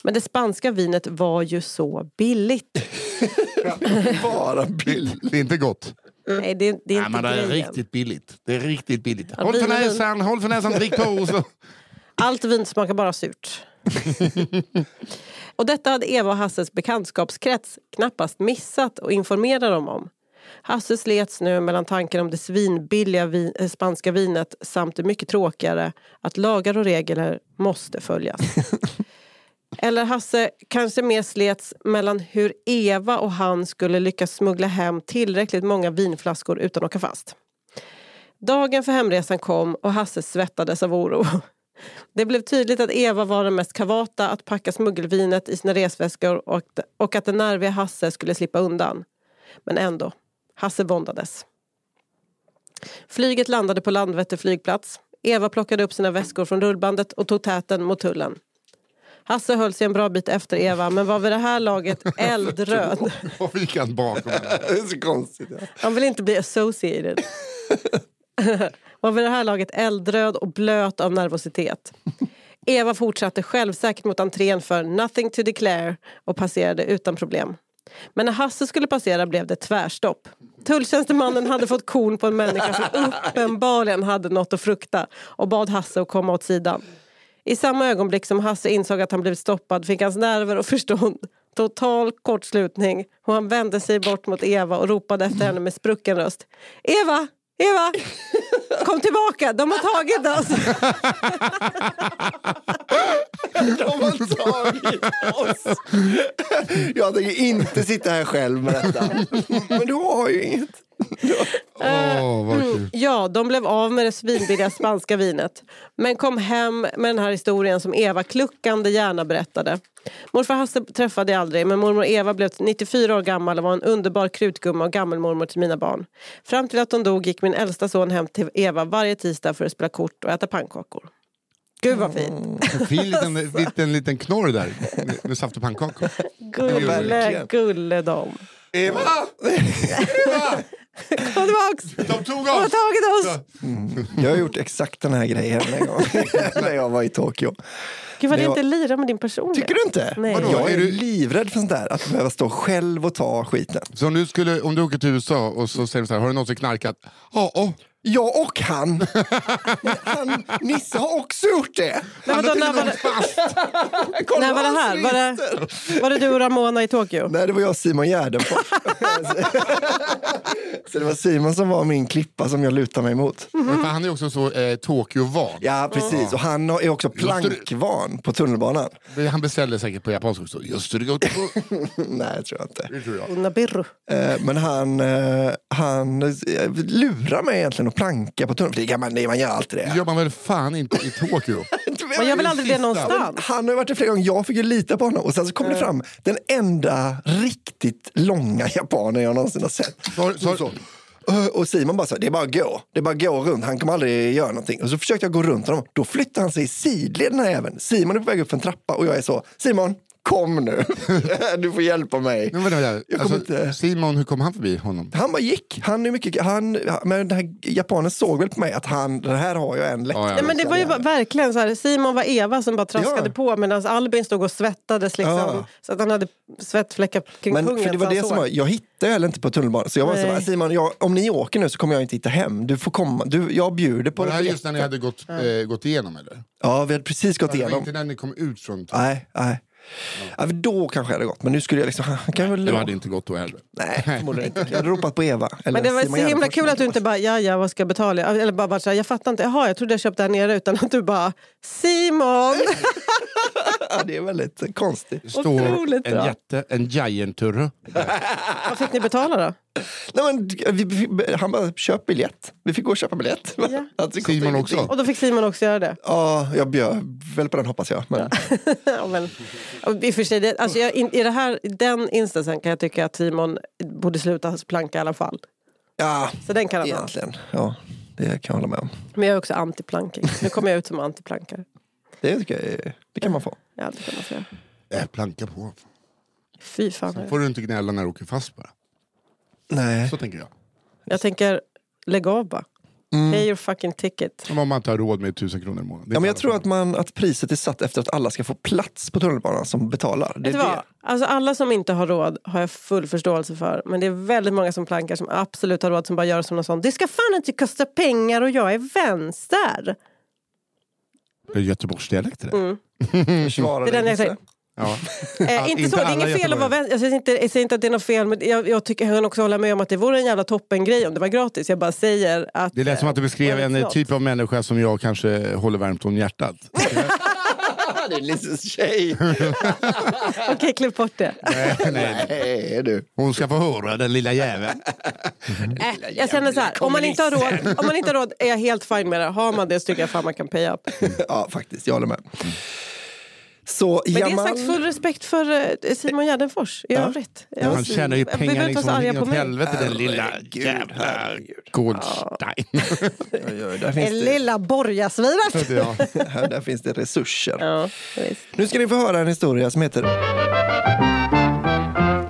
Men det spanska vinet var ju så billigt.
Bara
Det,
bild.
det är inte gott.
Nej, det, det är
Mm. Nej,
inte
men det är
grejen.
riktigt billigt. Det är riktigt billigt.
Ja,
Håll för
vin och vin.
näsan, håll för näsan, drick på. Och så.
Allt vin smakar bara surt. och detta hade Eva och Hasses bekantskapskrets knappast missat och informerade dem om. Hasse slets nu mellan tanken om det svinbilliga vin, eh, spanska vinet samt det mycket tråkigare att lagar och regler måste följas. Eller Hasse kanske mer slets mellan hur Eva och han skulle lyckas smuggla hem tillräckligt många vinflaskor utan att åka fast. Dagen för hemresan kom och Hasse svettades av oro. Det blev tydligt att Eva var den mest kavata att packa smuggelvinet i sina resväskor och, och att den nerviga Hasse skulle slippa undan. Men ändå, Hasse våndades. Flyget landade på Landvetter flygplats. Eva plockade upp sina väskor från rullbandet och tog täten mot tullen. Hasse höll sig en bra bit efter Eva men var vid det här laget eldröd.
Och vi kan bakom. henne.
Det är så konstigt. Ja.
Han vill inte bli associated. Var vid det här laget eldröd och blöt av nervositet. Eva fortsatte självsäkert mot entrén för Nothing to declare och passerade utan problem. Men när Hasse skulle passera blev det tvärstopp. Tulltjänstemannen hade fått korn på en människa som uppenbarligen hade något att frukta och bad Hasse att komma åt sidan. I samma ögonblick som Hasse insåg att han blivit stoppad fick hans nerver och förstånd total kortslutning och han vände sig bort mot Eva och ropade efter henne med sprucken röst. Eva! Eva! Kom tillbaka! De har tagit oss!
De har tagit oss. Jag tänker inte sitta här själv med detta. Men du har ju inget.
Åh,
Mm.
vad
Mm.
kul.
Ja, de blev av med det svinbilliga spanska vinet men kom hem med den här historien som Eva kluckande gärna berättade. Morfar Hasse träffade jag aldrig, men mormor Eva blev 94 år gammal och var en underbar krutgumma och gammelmormor till mina barn. Fram till att de dog gick min äldsta son hem till Eva varje tisdag för att spela kort och äta pannkakor. Gud vad
Mm.
fint!
En fin liten,
Alltså.
liten, liten knorr där med saft och pannkakor.
Gulle,
verkligen.
gulle dem.
Eva! Eva!
Kom tillbaks!
De tog
De har
oss!
tagit oss!
Jag har gjort exakt den här grejen en gång när jag var i Tokyo.
Gud vad det
Det var-
inte lirar med din personlighet.
Tycker du inte?
Nej. Vadå,
Jag
är
är
du-
livrädd för sånt där, att behöva stå själv och ta skiten.
Så om du, skulle, om du åker till USA och så säger de så här, har du någonsin knarkat? Ja, åh.
Jag och han. han! Nisse har också gjort det.
Men vadå, när var det,
Kolla
när var det
hans
här? Var det,
register.
var det du och Ramona i Tokyo?
Nej, det var jag och Simon Gärdenfors. så det var Simon som var min klippa som jag lutade mig mot.
För han är också så eh, Tokyo-van.
Mm. Ja, precis. Och han har- är också
Just det.
plankvan på tunnelbanan.
Han beställer säkert på japanska också. Just det, det går
Nej, det tror jag inte.
Det tror jag.
Unabiru.
Eh, Men han, eh, han eh, lurar mig egentligen att planka på tunnelbanan. För det kan man, det man gör alltid det.
Det gör man väl fan inte i Tokyo?
Man gör väl aldrig det Eh.
sista.
någonstans?
Han har ju varit där flera gånger, jag fick ju lita på honom. Och sen så kom det fram den enda riktigt långa japanen jag någonsin har sett.
Så- så-
Så. Ö, Eh, Och Simon bara sa, det är bara att gå. Det är bara att gå runt, han kommer aldrig göra någonting. Och så försökte jag gå runt honom. Då flyttade han sig i sidled den här även. Simon är på väg upp för en trappa och jag är så, Simon, kom nu. du får hjälpa mig.
Men vänta, vänta.
Jag kommer
Alltså,
inte-
Simon, hur kom han förbi honom?
Han bara gick. Han är mycket, han, men den här japanen såg väl på mig att han, den här har jag en lätt.
Ja, liksom. ja.
Nej, men det var ju bara- verkligen så här, Simon var Eva som bara traskade
Ja.
på medan Albin stod och svettades. Liksom,
Ja.
Så att han hade svettfläckar kring
Men
pungen.
för det var
så han
det
såg.
som var, jag hittade heller inte på tunnelbanan. Så jag var så
Nej.
här, Simon, jag, om ni åker nu så kommer jag inte hitta hem. Du får komma. Du, jag bjuder på
Var det här
det.
just när ni hade gått, eh, gått igenom eller?
Ja, vi hade precis gått
Det var
igenom.
inte när ni kom ut från Tokyo?
Nej, nej. Ja, för då kanske jag hade gått, men nu skulle jag liksom... Han kan väl
Du hade inte gått då heller?
Nej, förmodligen inte. Jag hade ropat på Eva. Eller
Men det var
Simon
så himla
Gärdenfors.
kul att du inte bara, ja ja vad ska jag betala? Eller bara, bara så här, jag fattar inte, jaha jag trodde jag köpte här nere. Utan att du bara, Simon!
Ja, det är väldigt konstigt.
Det står
Otroligt
en
bra.
jätte, en giant-turre.
vad fick ni betala då?
Nej, men, vi- vi, han bara, köp biljett. Vi fick gå och köpa biljett.
Ja.
Att det kostar
Simon
ingenting.
också?
Och då fick Simon också göra det.
Ja, jag bjöd väl på den hoppas jag. Men,
ja, men, och i och för sig, det, alltså jag, in, i det här, i den instansen kan jag tycka att Simon borde sluta planka i alla fall.
ja,
Så den kan han ha.
egentligen. Ja, det kan jag hålla med om.
Men jag är också anti-planking. Nu kommer jag ut som anti-plankare.
Det, tycker jag, är- det kan man få.
Ja, det kan man säga.
Äh, planka på.
Fy fan.
får du inte gnälla när du åker fast bara.
Nej.
Så tänker jag.
Jag tänker, lägg av bara.
Mm.
Pay your fucking ticket.
Som om man inte har råd med tusen kronor i månaden. Det är
Ja,
alla
men jag tror
som-
att, man, att priset är satt efter att alla ska få plats på tunnelbanan som betalar. Det
Vet
är
du vad?
det.
Alltså alla som inte har råd har jag full förståelse för. Men det är väldigt många som plankar som absolut har råd som bara gör som någon sån. Det ska fan inte kosta pengar och jag är vänster.
Det är Göteborgsdialekt det där.
Mm. Försvara
Det är den jag
Nisse.
säger.
Ja.
Eh,
Att
inte så,
inte
det är
alla
inget fel att vara
göteborgare.
vänster. Jag säger inte, jag säger inte att det är något fel. Men jag, jag tycker jag kan också hålla med om att det vore en jävla toppengrej om det var gratis. Jag bara säger att...
Det lät som att du beskrev en eh, typ av människa som jag kanske håller varmt om hjärtat.
Ah, det är Lisses tjej.
Okej, klipp bort det.
nej, nej.
Nej, du.
Hon ska få höra den lilla jäveln.
Äh, jag känner så här, om man, inte har råd, om man inte har råd är jag helt fine med det. Har man det så tycker jag fan man kan pay up.
Ja, faktiskt. Jag håller med. Så
Men det
Jamal...
är sagt full respekt för eh, Simon Gärdenfors i övrigt. Ja,
Han tjänar ju
Vi behöver
pengar
inte vara så
liksom
arga på
inåt
mig.
helvete den lilla
Herregud,
jävla
herregud.
Goldstein.
Oj, oj, där,
Det
finns det,
lilla borgarsvinet!
ja.
här, där finns det resurser.
Ja, visst.
Nu ska ni få höra en historia som heter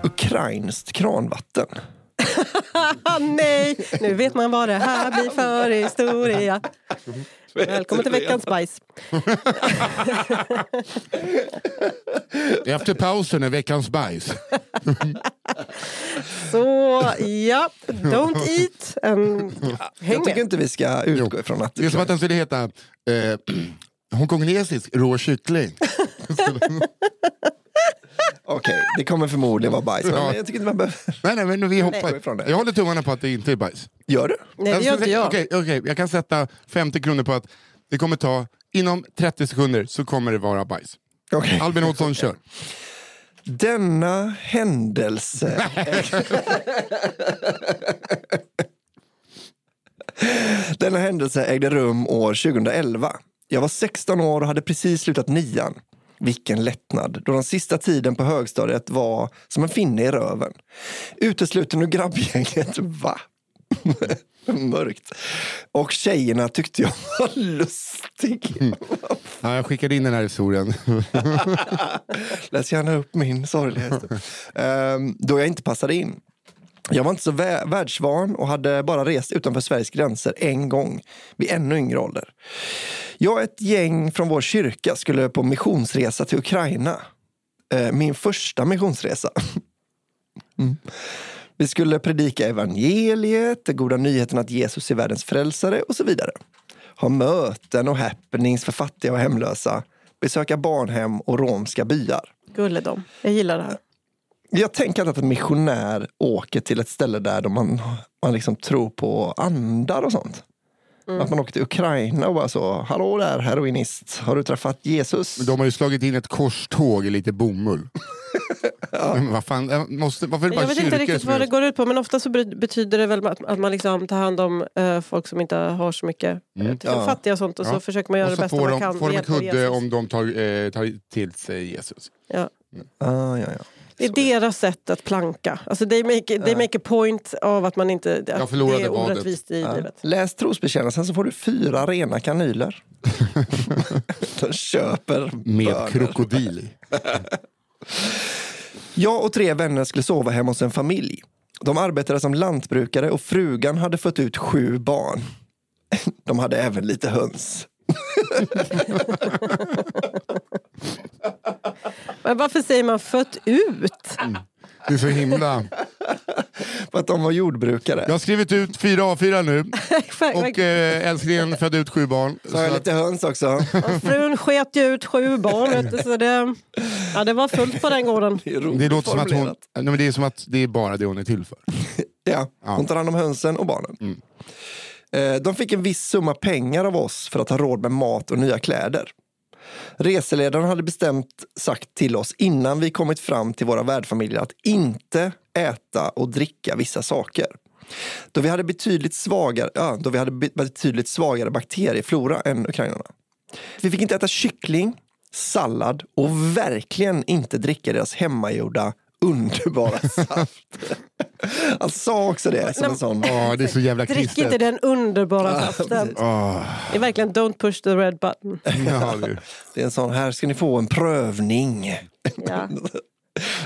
Ukrainskt kranvatten.
Ah, nej, nu vet man vad det här blir för historia. Välkommen till veckans bajs.
Efter pausen är veckans bajs.
Så ja, don't eat. And, häng
Jag tycker
med.
inte vi ska utgå ifrån att...
Det är som att den skulle heta eh, hongkongesisk rå kyckling.
Okej, det kommer förmodligen vara bajs.
Ja.
Men jag tycker inte man behöver...
Nej, nej, men vi
Gå ifrån
hoppar.
det.
Jag håller tummarna på att det inte är bajs.
Gör du?
Nej, det gör inte jag.
Alltså, Okej, okej, jag kan sätta 50 kronor på att det kommer ta, inom 30 sekunder så kommer det vara bajs.
Okej.
Albin Olsson kör.
Denna händelse... Denna händelse ägde rum år 2011. Jag var 16 år och hade precis slutat nian. Vilken lättnad, då den sista tiden på högstadiet var som en finne i röven. Utesluten ur grabbgänget, va? Mörkt. Och tjejerna tyckte jag var lustig.
Ja, jag skickade in den här historien.
Läs gärna upp min sorgliga historia. Ehm, då jag inte passade in. Jag var inte så vä- världsvan och hade bara rest utanför Sveriges gränser en gång, vid ännu yngre ålder. Jag och ett gäng från vår kyrka skulle på missionsresa till Ukraina. Eh, Min första missionsresa. Mm. Vi skulle predika evangeliet, den goda nyheten att Jesus är världens frälsare och så vidare. Ha möten och happenings för fattiga och hemlösa. Besöka barnhem och romska byar.
Gulledom. Jag gillar det här.
Jag tänker alltid att en missionär åker till ett ställe där de man, man liksom tror på andar och sånt. Att man åker till Ukraina och bara så, hallå där heroinist, har du träffat Jesus?
De har ju slagit in ett korståg i lite bomull. Men vad fan, jag måste, varför är det bara
Jag vet inte
kyrkor
riktigt
som
vad
är-
det går ut på men ofta så bry- betyder det väl att, att man liksom tar hand om eh, folk som inte har så mycket, mm.
Ja.
fattiga och sånt och så
Ja.
försöker man göra
Och
det
så
bästa
får
man
de,
kan.
får de
med
ett
hjälp av
hudde
Jesus.
om de tar, eh, tar till sig Jesus.
Ja.
Ah, ja, ja.
Det är deras sätt att planka. Alltså they, make, they make a point av att man inte... Att
Jag förlorade
det är
vadet.
orättvist i livet.
Läs trosbekännelsen så får du fyra rena kanyler. de köper
Med
bönor.
krokodil i.
Jag och tre vänner skulle sova hemma hos en familj. De arbetade som lantbrukare och frugan hade fött ut sju barn. De hade även lite höns.
Men varför säger man fött ut?
Mm. Det är så himla...
För att de var jordbrukare.
Jag har skrivit ut fyra A4 nu och
Och,
eh, älsklingen födde ut sju barn. Så
Så har jag
att,
lite höns också.
frun sket ju ut sju barn. Vet du, så det, ja, det var fullt på den gården.
Det, är roligt
det låter som att hon...
formulerat.
Nej, men det är som att det är bara det hon är till för.
Ja, hon tar hand om hönsen och barnen. Eh, De fick en viss summa pengar av oss för att ha råd med mat och nya kläder. Reseledaren hade bestämt sagt till oss innan vi kommit fram till våra värdfamiljer att inte äta och dricka vissa saker. Då vi hade betydligt svagare, ja, då vi hade be- betydligt svagare bakterieflora än ukrainarna. Vi fick inte äta kyckling, sallad och verkligen inte dricka deras hemmagjorda underbara saft. Han sa också det som en sån...
Ja, det är så jävla
Drick inte
kristet.
den underbara saften.
Ah,
Det är verkligen don't push the red button.
ja, det är-
Det är en sån, här ska ni få en prövning.
Ja.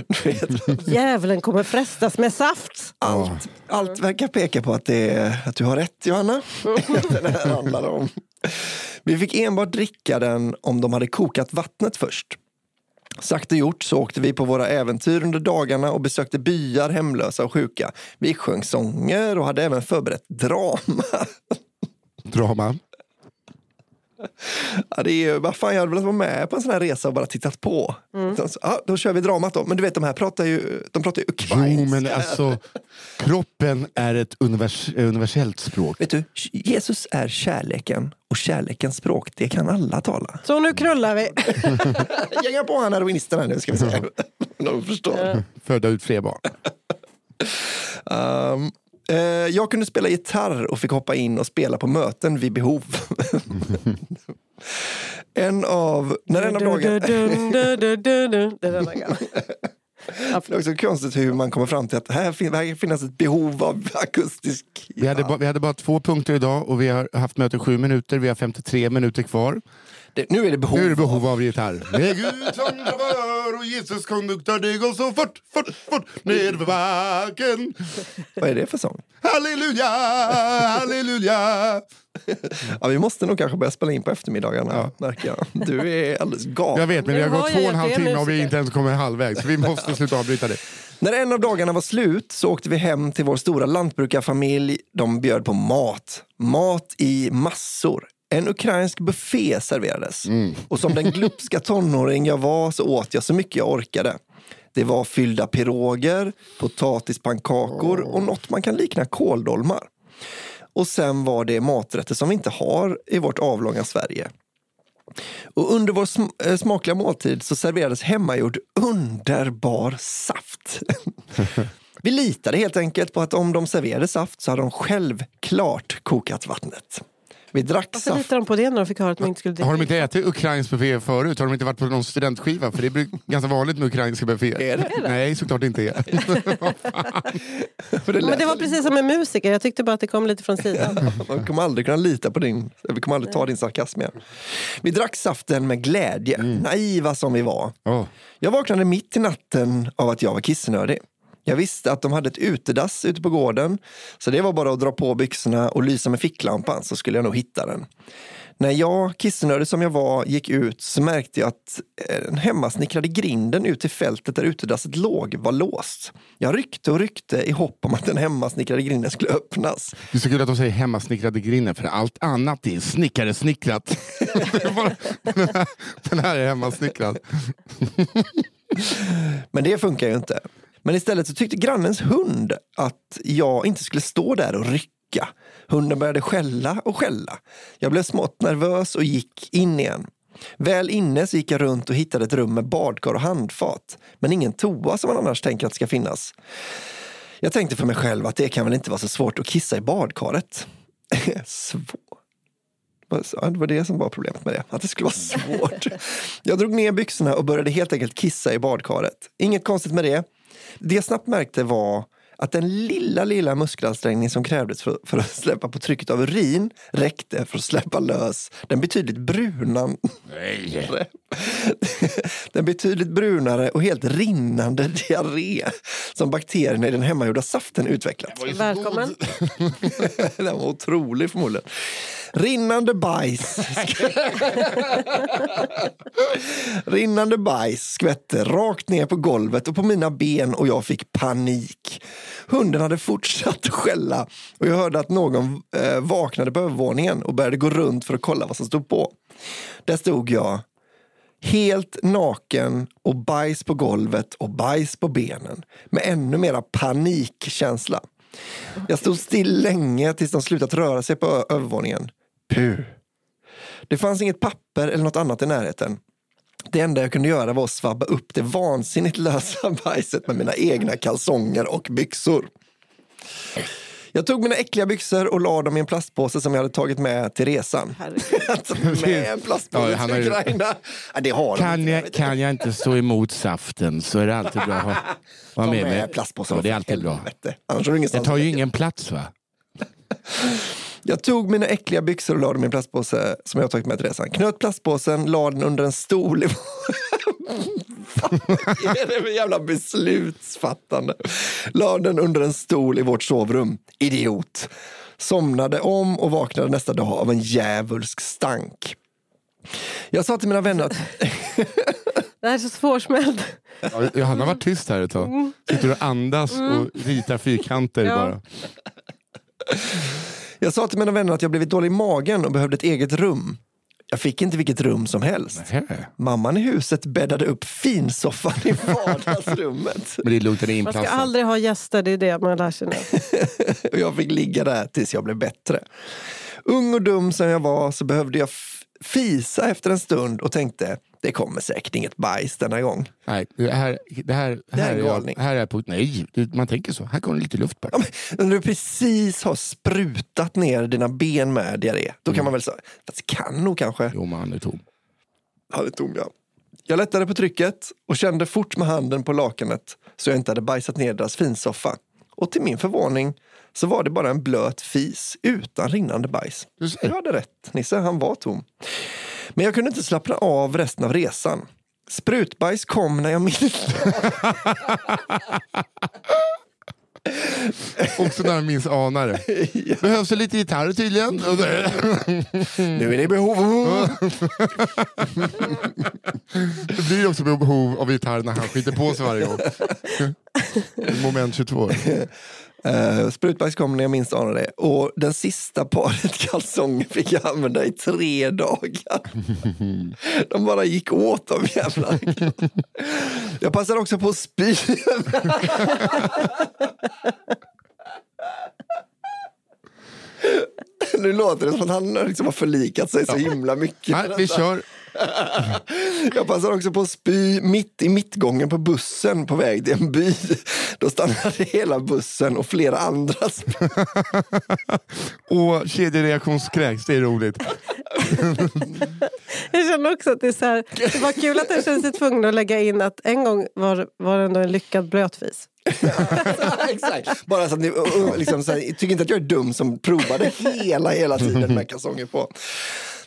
Du vet,
Djävulen kommer frestas med saft.
allt, allt verkar peka på att, det är, att du har rätt, Johanna. Att det här handlar om. Vi fick enbart dricka den om de hade kokat vattnet först. Sagt och gjort så åkte vi på våra äventyr under dagarna och besökte byar, hemlösa och sjuka. Vi sjöng sånger och hade även förberett drama.
Drama.
Ja, det är ju, vad fan, jag hade velat vara med på en sån här resa och bara tittat på. Utan så, ja, då kör vi dramat då. Men du vet, de här pratar ju, de pratar ju
Jo,
ukrainska.
men alltså, kroppen är ett univers, eh, universellt språk.
Vet du, Jesus är kärleken och kärlekens språk, det kan alla tala.
Så nu knullar vi.
Gänga på han heroinisten här nu ska vi se. De förstår.
Föda ut fler barn.
Um, eh, jag kunde spela gitarr och fick hoppa in och spela på möten vid behov. en av... När en av dagarna...
Dun, dun, dun, dun, dun. Det är den där gamla. Ja,
Det är
förlåt.
också konstigt hur man kommer fram till att här, fin- här finns ett behov av akustisk
Vi hade, ba, vi hade bara två punkter idag och vi har haft möte i sju minuter. Vi har 53 minuter kvar.
Det, nu är det behov.
Nu är det behov av gitarr. Med Gud som chaufför och Jesus konduktör, det går så fort, fort, fort ned för backen.
Vad är det för sång?
Halleluja, halleluja.
Ja, vi måste nog kanske börja spela in på eftermiddagarna, märker jag. Du är alldeles galen.
Jag vet, men vi har
Nu har
gått
jag
två och en
gett er
halv timme och vi
musiker.
inte ens kommit halvvägs. Vi måste sluta avbryta det.
När en av dagarna var slut så åkte vi hem till vår stora lantbrukarfamilj. De bjöd på mat. Mat i massor. En ukrainsk buffé serverades. Och som den glupska tonåring jag var så åt jag så mycket jag orkade. Det var fyllda piroger, potatispannkakor och något man kan likna kåldolmar. Och sen var det maträtter som vi inte har i vårt avlånga Sverige. Och under vår sm- eh, smakliga måltid så serverades hemmagjord underbar saft. Vi litade helt enkelt på att om de serverade saft så hade de självklart kokat vattnet. Vi drack
Varför
saft.
litar de på det när de fick höra att man inte skulle dricka?
Har de inte ätit ukrainsk buffé förut? Har de inte varit på någon studentskiva? För det är bru- ganska vanligt med ukrainska bufféer.
Är det?
Nej, såklart inte är.
För det
Men
lät,
det var precis som med musiker, jag tyckte bara att det kom lite från sidan.
Man kommer aldrig kunna lita på din, vi kommer aldrig ta din sarkasm igen. Vi drack saften med glädje, naiva som vi var.
Åh,
Jag vaknade mitt i natten av att jag var kissnödig. Jag visste att de hade ett utedass ute på gården, så det var bara att dra på byxorna och lysa med ficklampan så skulle jag nog hitta den. När jag, kissnödig som jag var, gick ut så märkte jag att eh, den hemmasnickrade grinden ut till fältet där utedasset låg var låst. Jag ryckte och ryckte i hopp om att den hemmasnickrade grinden skulle öppnas.
Det är så kul att de säger hemmasnickrade grinden, för allt annat är snickare-snickrat. Det är bara- den, här, den här är hemmasnickrad.
Men det funkar ju inte. Men istället så tyckte grannens hund att jag inte skulle stå där och rycka. Hunden började skälla och skälla. Jag blev smått nervös och gick in igen. Väl inne så gick jag runt och hittade ett rum med badkar och handfat. Men ingen toa som man annars tänker att ska finnas. Jag tänkte för mig själv att det kan väl inte vara så svårt att kissa i badkaret. Svårt. Ja, det var det som var problemet med det, att det skulle vara svårt. Jag drog ner byxorna och började helt enkelt kissa i badkaret. Inget konstigt med det. Det jag snabbt märkte var att den lilla, lilla muskelansträngning som krävdes för, för att släppa på trycket av urin räckte för att släppa lös den betydligt brunan
Nej.
bättre. Den betydligt brunare och helt rinnande diarré som bakterierna i den hemmagjorda saften utvecklat.
Välkommen.
Den var otrolig förmodligen. Rinnande bajs. Rinnande bajs skvätte rakt ner på golvet och på mina ben och jag fick panik. Hunden hade fortsatt att skälla och jag hörde att någon eh, vaknade på övervåningen och började gå runt för att kolla vad som stod på. Där stod jag helt naken och bajs på golvet och bajs på benen med ännu mera panikkänsla. Jag stod still länge tills de slutat röra sig på ö- övervåningen. Puh. Det fanns inget papper eller något annat i närheten. Det enda jag kunde göra var att svabba upp det vansinnigt lösa bajset med mina egna kalsonger och byxor. Jag tog mina äckliga byxor och la dem i en plastpåse som jag hade tagit med till resan.
Herregud.
Alltså, med en plastpåse
Ja, han har
till
ju-
Ukraina. Ja, det har de
Kan
inte.
jag, kan jag inte stå emot saften så är det alltid bra att ha vara
De
med.
är
mig.
plastpåsar.
Ja, det är alltid bra.
Helvete. Annars har du
Det
ingenstans
tar
att
ju
lägga.
ingen plats va?
Jag tog mina äckliga byxor och la dem i en plastpåse som jag tagit med till resan. Knöt plastpåsen, la den under en stol. I... Vad är det för jävla beslutsfattande? La den under en stol i vårt sovrum. Idiot. Somnade om och vaknade nästa dag av en djävulsk stank. Jag sa till mina vänner att
Det här är så svårsmält.
Ja, Johanna har varit tyst här ett tag. Sitter och andas och ritar fyrkanter
Ja.
bara.
Jag sa till mina vänner att jag blivit dålig i magen och behövde ett eget rum. Jag fick inte vilket rum som helst.
Här.
Mamman i huset bäddade upp finsoffan i vardagsrummet.
Men det är lugnt, den är
Man ska
inplastad.
aldrig ha gäster, det är det man lär sig nu.
Och jag fick ligga där tills jag blev bättre. Ung och dum som jag var så behövde jag f- fisa efter en stund och tänkte det kommer säkert inget bajs denna gång.
Nej, det här, det här,
är en
här, är
galning.
jag, här är jag på... Nej, det- man tänker så. Här kommer lite luft bara.
När du precis har sprutat ner dina ben med diarré, då kan man väl säga, fast kan nog kanske.
Jo, man är tom.
Han är tom, ja. Jag lättade på trycket och kände fort med handen på lakanet så jag inte hade bajsat ner deras finsoffa. Och till min förvåning så var det bara en blöt fis utan rinnande bajs.
Du ser.
Jag hade rätt, Nisse. Han var tom. Men jag kunde inte slappna av resten av resan. Sprutbajs kom när jag minns
Också när han minns anare. Behövs det lite gitarr tydligen.
Nu är det behov.
Det blir också behov av gitarr när han skiter på sig varje gång. Moment 22.
Uh, sprutbajs kom när jag minst anade det. Och den sista paret kalsonger fick jag använda i tre dagar. De bara gick åt de jävla. Jag passade också på att spy. Nu låter det som att han liksom har förlikat sig så himla mycket.
Nej, vi kör.
Jag passade också på att spy mitt i mittgången på bussen på väg till en by. Då stannade hela bussen och flera andra spydde.
Och kedjereaktionskräks, det är roligt.
Jag känner också att det är så här, det var kul att den kände sig tvungen att lägga in att en gång var, var det ändå en lyckad blötfis.
Exakt. Bara så att ni och- och liksom, så här, tycker inte att jag är dum som provade hela, hela tiden med kalsonger på.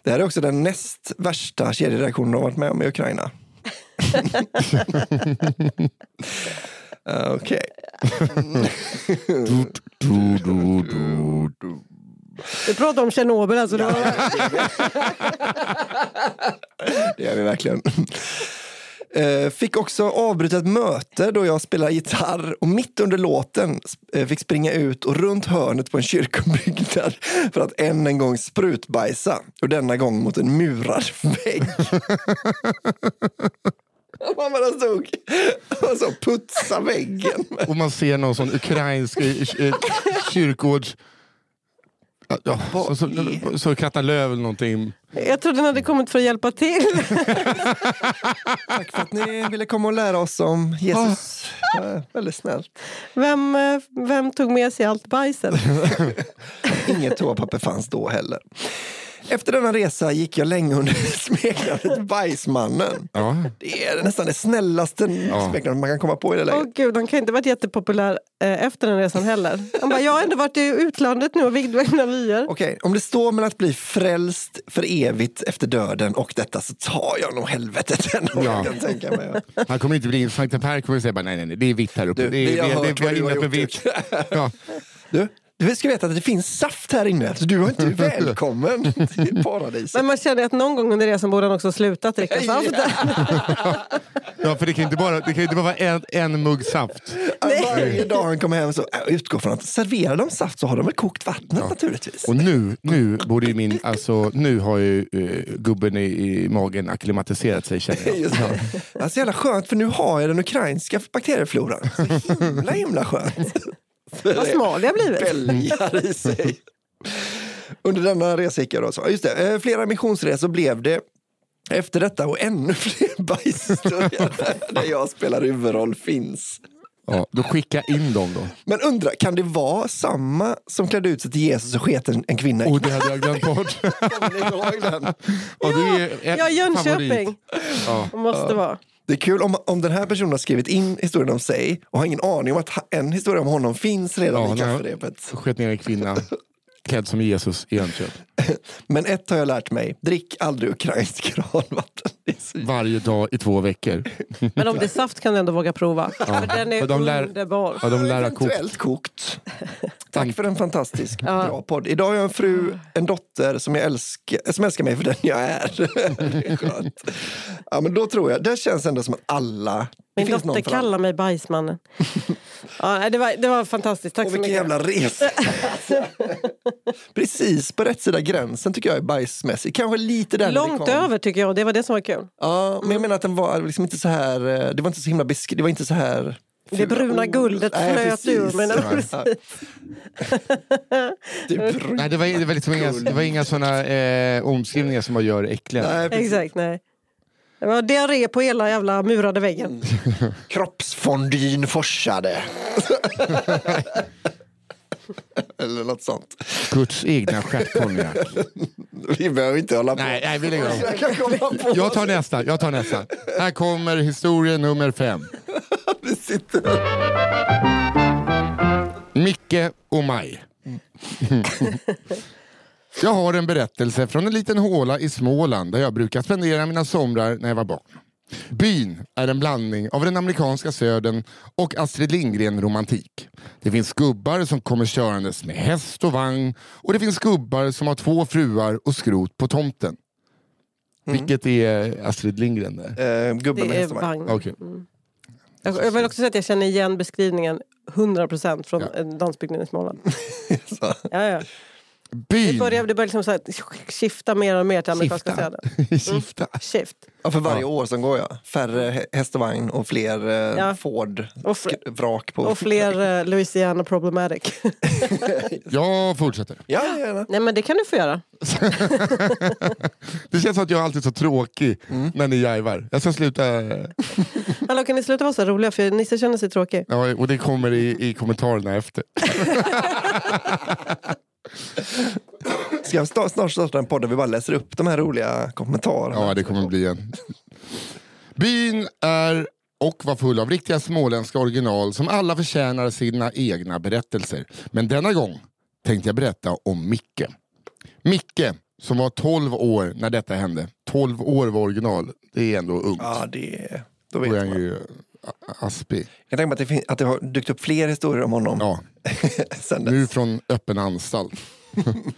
Det här är också den näst värsta kedjereaktionen de har varit med om i Ukraina. Okej.
Du, du, du, du.
Vi pratar om Tjernobyl alltså. Ja.
Det gör vi verkligen. Eh, Fick också avbryta ett möte då jag spelade gitarr och mitt under låten sp- eh, fick springa ut och runt hörnet på en kyrkobyggnad för att än en gång sprutbajsa och denna gång mot en murad vägg. Man bara stod och så putsa väggen.
Och man ser någon sån ukrainsk eh, eh, kyrkogårds... Ja, Ja, så, så, så Katta Löf eller någonting.
Jag trodde den hade kommit för att hjälpa till.
Tack för att ni ville komma och lära oss om Jesus. Eh, Väldigt snällt.
Vem, eh, vem tog med sig allt bajset?
Inget toapapper fanns då heller. Efter denna resa gick jag länge under smeknamnet Bajsmannen.
Ja.
Det är nästan det snällaste smeknamnet man kan komma på i det
Åh
läget.
gud, han kan inte ha varit jättepopulär eh, efter den resan heller. Han bara, jag har ändå varit i utlandet nu och vigt mina vyer.
Okej, om det står mellan att bli frälst för evigt efter döden och detta så tar jag nog helvetet ändå.
Ja.
Jag kan tänka mig.
Han kommer inte bli in. Sankta Per kommer säga bara, nej, nej, nej, det är vitt här uppe.
Du,
det är,
vi har
det,
hört vad du har
inne för
gjort.
vitt. Ja.
Du, du ska veta att det finns saft här inne, så du är inte välkommen till paradiset.
Men man känner att någon gång under resan borde han också ha slutat dricka saft.
ja, för det kan ju inte bara, det kan ju inte bara vara en, en mugg saft.
Äh, Varje dag han kommer hem så äh, utgår från att serverar de saft så har de väl kokt vattnet naturligtvis.
Och nu, nu borde ju min, alltså nu har ju eh, gubben i, i magen akklimatiserat sig känner jag.
Just det. Alltså jävla skönt, för nu har jag den ukrainska bakteriefloran. Så himla, himla skönt.
Vad smal jag blivit.
Bälgar i sig. Under denna resa gick jag då så. Just det, eh, flera missionsresor blev det. Efter detta och ännu fler bajshistorier där- där jag spelar huvudroll finns.
Ja, då skicka in dem då.
Men undra, kan det vara samma som klädde ut sig till Jesus och sket en, en kvinna? i
Och det hade jag glömt bort.
Kommer ni ihåg den?
Ja, det är ju en
Ja, Jönköping.
favorit. Ja.
Måste vara.
Det är kul om, om den här personen har skrivit in historien om sig och har ingen aning om att ha- en historia om honom finns redan
Ja,
i
när jag-
kafferepet.
Sköt ner en kvinna klädd som Jesus i Jönköping.
Men ett har jag lärt mig, drick aldrig ukrainskt kranvatten. Det är så-
Varje dag i två veckor.
Men om det är saft kan du ändå våga prova. För den är
För de lär-
underbar.
Ja, de lär ha kokt.
Eventuellt kokt. Tack för en fantastisk bra podd. Idag har jag en fru, en dotter som, jag älskar, som älskar mig för den jag är. det är skönt. Ja, men då tror jag, det känns ändå som att alla... det
Min
finns någon
dotter
för alla.
kallar mig Bajsmannen. ja, nej, det, var, det var fantastiskt. Tack
Och
så
vilken
mycket.
jävla resa! Precis på rätt sida gränsen tycker jag är bajsmässig. Kanske lite där när det
Långt
kom.
över Mm. tycker jag. Det var det som var kul.
Ja, men jag menar att den var liksom inte så här... eh, Det var inte så himla besk- Det var inte så här...
Det bruna guldet
Nej,
flöt
precis.
ur mig. när-
Ja. Det bruna-
Nej, det var, det var, liksom inga, det var inga såna eh, omskrivningar som man gör äckliga.
Nej, precis.
Exakt, nej. Det var diarré på hela jävla murade
Mm,
väggen.
Kroppsfondyn forsade. Eller något sånt.
Guds egna stjärtkonjak.
Vi behöver inte hålla på.
Nej, nej, vi lägger av.
Jag kan komma på
Jag tar nästa. Jag tar nästa. Här kommer historia nummer fem.
att vi sitter...
Micke och Maj.
Mm.
jag har en berättelse från en liten håla i Småland där jag brukar spendera mina somrar när jag var barn. Byn är en blandning av den amerikanska södern och Astrid Lindgren-romantik. Det finns gubbar som kommer körandes med häst och vagn och det finns gubbar som har två fruar och skrot på tomten.
Mm.
Vilket är Astrid Lindgren? Där?
Eh, gubben med
Det är
hästen. va?
vagn.
Okej.
Jag jag vill också säga att jag känner igen beskrivningen 100 procent från ja. landsbygden i Småland.
Så.
Ja, ja. Det
Byn.
börjar, det börjar liksom så här, skifta mer och mer till amerikanska
Skifta.
städer.
Skifta.
Shift.
Ja, för varje år som går, ja. Färre hä- häst och vagn och fler eh,
Ja. Och fl-
Ford-vrak. på.
Och fler eh, Louisiana problematic.
Jag fortsätter.
Ja, gärna.
Nej men det kan du få göra.
Det känns som att jag alltid är så tråkig när ni jajvar. Jag ska sluta... eh,
Hallå kan ni sluta vara så här roliga för Nisse känner sig tråkig.
Ja, och det kommer i, i kommentarerna efter.
Ska jag snart, snart starta en podd där vi bara läser upp de här roliga kommentarerna?
Ja, det kommer bli en. Byn är och var full av riktiga småländska original som alla förtjänar sina egna berättelser. Men denna gång tänkte jag berätta om Micke. Micke, som var 12 år när detta hände. 12 år var original. Det är ändå ungt.
Ja, det... Då vet
Då är han
man. Jag
ju a- aspig.
tänker mig att det, fin- att det har dykt upp fler historier om honom
Ja,
sen dess.
nu från öppen anstalt.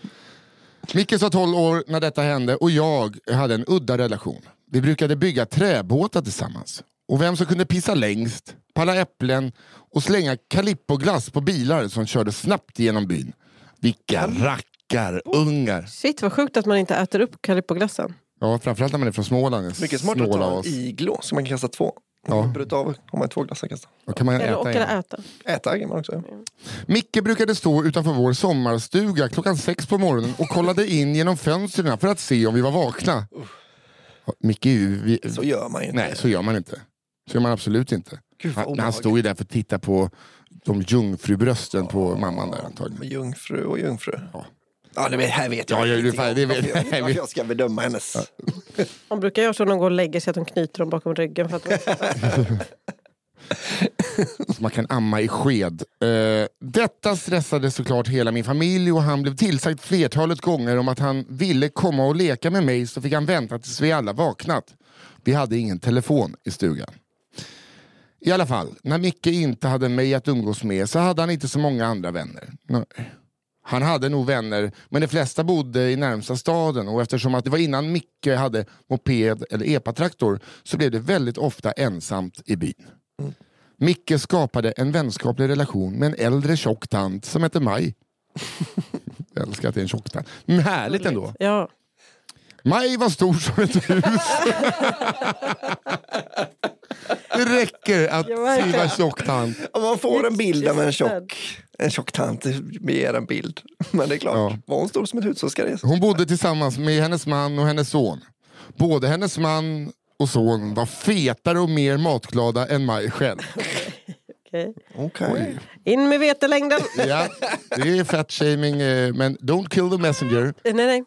Micke var 12 år när detta hände och jag hade en udda relation. Vi brukade bygga träbåtar tillsammans. Och vem som kunde pissa längst, palla äpplen och slänga kalippoglass på bilar som körde snabbt genom byn. Vilka rackarungar!
Shit vad sjukt att man inte äter upp Calippoglassen.
Ja, framförallt när man är från Småland.
Mycket smart att
Snåla
ta
oss.
i glås, så man kan kasta två.
Ja.
Bryta av, har man två glassar kasta.
Då kan man
Eller och
äta igen.
eller äta.
Äta kan man också.
Mm.
Micke brukade stå utanför vår sommarstuga klockan sex på morgonen och kollade in genom fönstren för att se om vi var vakna. Micke, är ju- vi,
Så gör man ju inte.
nej så gör man inte. Så gör man absolut inte.
Gud, vad
Han, han
obehagligt.
stod ju där för att titta på de jungfrubrösten på mamman där antagligen.
Med jungfru och jungfru.
Ja.
Ja, det vet- här vet jag
Ja, ja,
ingenting
det-
om.
det vet-
Varför jag,
vet-
varför jag ska bedöma hennes.
Man brukar göra så när de går och lägger sig att de knyter dem bakom ryggen. För att de...
Så man kan amma i sked. Eh, detta stressade såklart hela min familj och han blev tillsagd flertalet gånger om att han ville komma och leka med mig så fick han vänta tills vi alla vaknat. Vi hade ingen telefon i stugan. I alla fall, när Micke inte hade mig att umgås med så hade han inte så många andra vänner. Nej. Han hade nog vänner, men de flesta bodde i närmsta staden och eftersom att det var innan Micke hade moped eller epatraktor så blev det väldigt ofta ensamt i byn. Micke skapade en vänskaplig relation med en äldre tjock tant som hette Maj. Jag älskar att det är en tjock tant. Men härligt ändå.
Ja.
Maj var stor som ett hus. Det räcker att
Ja, verkligen.
skriva tjock tant.
Om man får en bild av en
Vilken
tjock, en tjock tant, vi ger en bild. Men det är klart,
Ja.
var hon stor som ett hus så ska det
Hon bodde tillsammans med hennes man och hennes son. Både hennes man och son var fetare och mer matglada än Maj själv.
Okej.
Okej.
In med vetelängden!
Ja, det är fettshaming, eh, men don't kill the messenger.
Eh, nej, nej.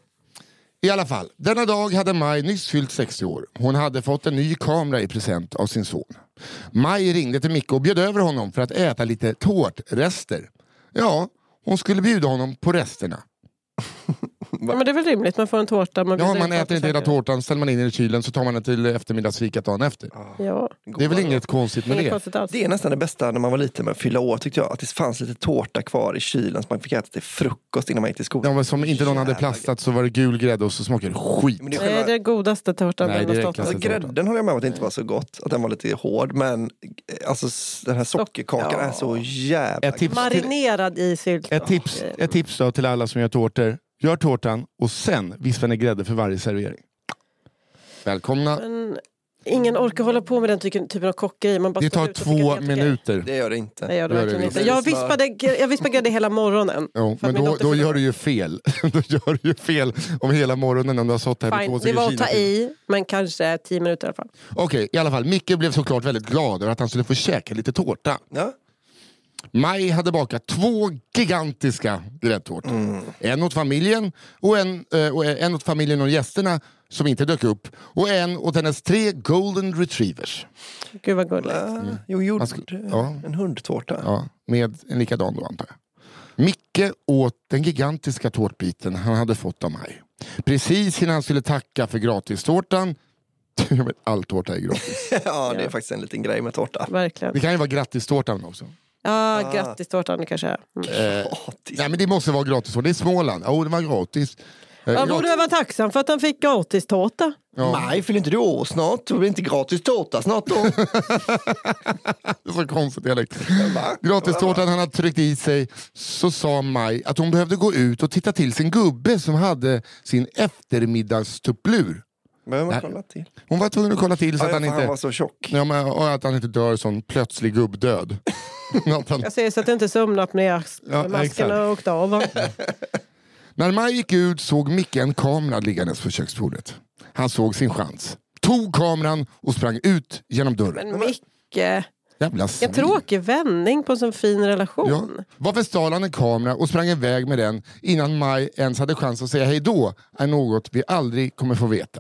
I alla fall, denna dag hade Maj nyss fyllt 60 år. Hon hade fått en ny kamera i present av sin son. Maj ringde till Micke och bjöd över honom för att äta lite tårtrester. Ja, hon skulle bjuda honom på resterna.
Ja, men det är väl rimligt, man får en tårta. Man
Ja,
bjuder
man
in
äter inte hela tårtan, ställer man in den i kylen så tar man den till eftermiddagsfikat dagen efter.
Ja,
Det är väl inget konstigt med
inget
det?
konstigt alls.
Det är nästan det bästa när man var liten med att fylla år tyckte jag. Att det fanns lite tårta kvar i kylen som man fick äta till frukost innan man gick till skolan.
Ja, men som inte någon hade plastat så var det gul grädde och så smakade det skit.
Men det är
Nej, det är
själva,
den godaste tårtan
Nej,
man
det är
har stått
klassiskt.
med.
alltså, grädden håller jag med om att det inte var så gott. Att den var lite hård. Men eh, alltså, s- den här sockerkakan
Ja.
är så jävla
Ett tips, till,
Marinerad i sylt.
ett tips, ett tips då till alla som gör tårtor. Gör tårtan och sen vispa ner grädde för varje servering. Välkomna
Men ingen orkar hålla på med den typen typen av kockeri. Man bara
Det
står
tar
ut och tycker
två
att det är helt okej.
minuter.
Det gör det inte.
Nej, jag,
Gör det liksom-
verkligen
inte.
inte. jag vispade, gr- jag vispade grädde hela morgonen.
Jo,
För att
men
min
då,
dotter
då
fyllde
gör
år.
du ju fel. då gör du ju fel om hela morgonen om du har stått här med två
Fine. Det
stycken
var att ta
kinakryddor.
i, men kanske tio minuter i alla fall.
Okej, i alla fall. Micke blev såklart väldigt glad över att han skulle få käka lite tårta.
Ja.
Maj hade bakat två gigantiska gräddtårtor. En åt familjen och en, eh, och en åt familjen och gästerna som inte dök upp. Och en åt hennes tre golden retrievers.
Gud vad gulligt.
Mm. Jo, gjorde
skulle- ja.
en hundtårta.
Ja, med en likadan då antar jag. Micke åt den gigantiska tårtbiten han hade fått av mig. Precis innan han skulle tacka för gratistårtan. Jag vet, All tårta är gratis.
ja, det är
Ja.
faktiskt en liten grej med tårta.
Verkligen.
Det kan ju vara grattistårtan också.
Ja,
Ah.
grattis tårtan kanske. är. Mm.
Eh,
Gratis.
nej men det måste vara gratistårta. Det är Småland. Jo, det var gratis.
Han
jag-
borde vara tacksam för att han fick gratis tårta.
Ja,
Nej, fyller inte du år snart? Det blir inte gratis tårta snart då?
det är så konstig dialekt. Gratistårtan han hade tryckt i sig så sa Maj att hon behövde gå ut och titta till sin gubbe som hade sin eftermiddagstupplur.
Behöver man
Nej.
kolla till?
Hon var tvungen att kolla till så
Ja,
att
ja,
han
för han
inte,
var så tjock.
ja, men, och att han inte dör sån plötslig gubbdöd. Att han,
Jag säger så att du inte somnar med
Ja,
masken
exakt.
har åkt av. va?
När Maj gick ut såg Micke en kamera liggandes på köksbordet. Han såg sin chans. Tog kameran och sprang ut genom dörren.
Men Micke,
Jävla
en
svin.
tråkig vändning på en sån fin
Ja.
relation.
Varför stal han en kamera och sprang iväg med den innan Maj ens hade chans att säga hej då är något vi aldrig kommer få veta.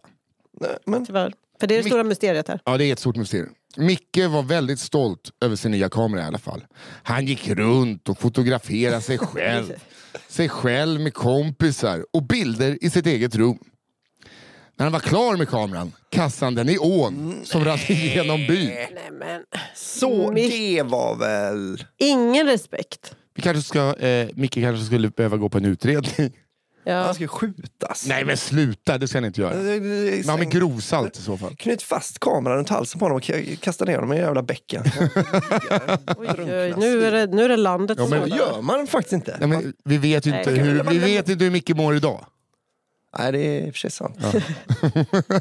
Nej, men
Tyvärr. För det är det stora mysteriet här.
Ja, det är ett stort mysterium. Micke var väldigt stolt över sin nya kamera i alla fall. Han gick runt och fotograferade sig själv, sig själv med kompisar och bilder i sitt eget rum. När han var klar med kameran kastade han den i ån som rann igenom byn.
Nej, men.
så,
Mitt-
det var väl...
Ingen respekt.
Vi kanske ska, eh, Micke kanske skulle behöva gå på en utredning.
Ja.
Han ska skjutas.
Nej men sluta, det ska han inte göra.
Det- det- det-
Nej, men grovsalt i så fall.
Knyt fast kameran runt halsen på honom och k- kasta ner honom i jävla bäcken.
Oj, oj, nu, är det, nu är det landet
Ja,
som
men
Det
håller.
gör man faktiskt inte.
Nej, men vi vet ju inte,
Nej, det kan
hur,
väl
vi
vara-
vet inte hur Micke mår idag.
Nej, det är i och för sig sant.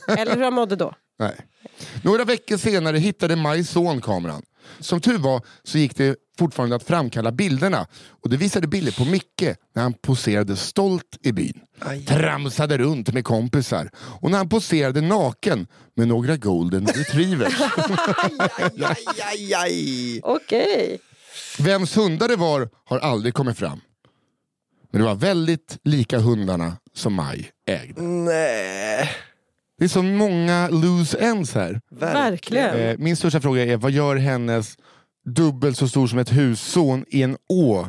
Eller hur han mådde då.
Nej. Några veckor senare hittade Majs son kameran. Som tur var så gick det fortfarande att framkalla bilderna. Och det visade bilder på Micke när han poserade stolt i byn.
Aj.
Tramsade runt med kompisar. Och när han poserade naken med några golden retrievers.
Aj, aj, aj, aj.
Okej.
Vems hundar det var har aldrig kommit fram. Men det var väldigt lika hundarna som Maj ägde.
Nej,
Det är så många loose ends här.
Verkligen.
Eh, min största fråga är, vad gör hennes dubbelt så stor som ett husson i en å?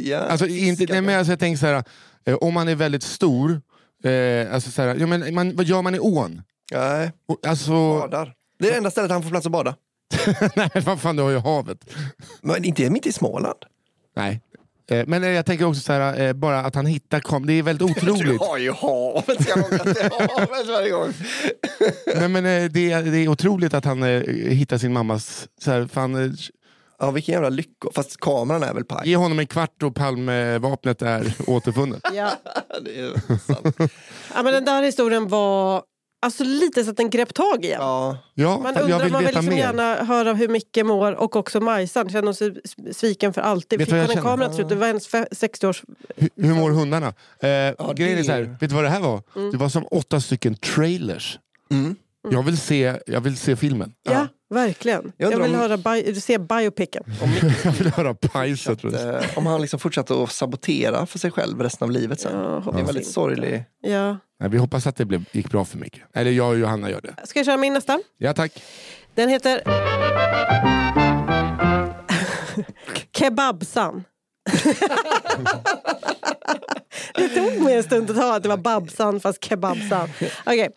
ja.
Alltså, inte, nej, men alltså, jag tänker så här, eh, om man är väldigt stor, eh, alltså, så här, ja, men, man, vad gör man i ån?
Nej,
Och, alltså,
badar. Det är det enda stället han får plats att bada.
nej, vad fan, du har ju havet.
Men inte mitt i Småland.
Nej. Eh, men eh, jag tänker också så här, eh, bara att han hittar kom, det är väldigt
Du
otroligt.
har ju havet. Ska jag åka till havet varje gång?
nej, men, eh, det, är, det är otroligt att han eh, hittar sin mammas, så här, fan, eh,
Ja, vilken jävla lycko. Fast kameran är väl paj.
ge honom en kvart och Palmevapnet är återfunnet.
Ja.
Det är sant.
ja, men den där historien var alltså, lite så att den grep tag i en.
Ja.
Ja,
Man
fan,
undrar,
jag vill
man vill
veta
liksom
mer.
gärna höra hur Micke mår och också Majsan. Känner hon sig sviken för alltid?
Vet
Fick
du vad
hon
jag
en
känner?
kamera till slut? Det var hennes fe- 60-års...
Hur, hur mår hundarna? Eh, grejen är
Liksom. det- Mm.
så här, vet du vad det här var? Det var som åtta stycken trailers. Jag, vill se, jag vill se filmen.
Ja, verkligen. Jag,
Jag undrar
vill
om-
höra bi- se biopicen.
Mm.
jag vill höra pajset. tror jag.
Eh, Om han liksom fortsatte att sabotera för sig själv resten av livet sen.
Ja,
det är
hoppas
en väldigt
inte.
sorglig...
Ja.
Nej, vi hoppas att det blev, gick bra för Micke. Eller jag och Johanna gör det.
Ska jag köra min nästa?
Ja tack.
Den heter... Kebabsan. det tog mig en stund att ta att det var Babsan fast Kebabsan. Okej.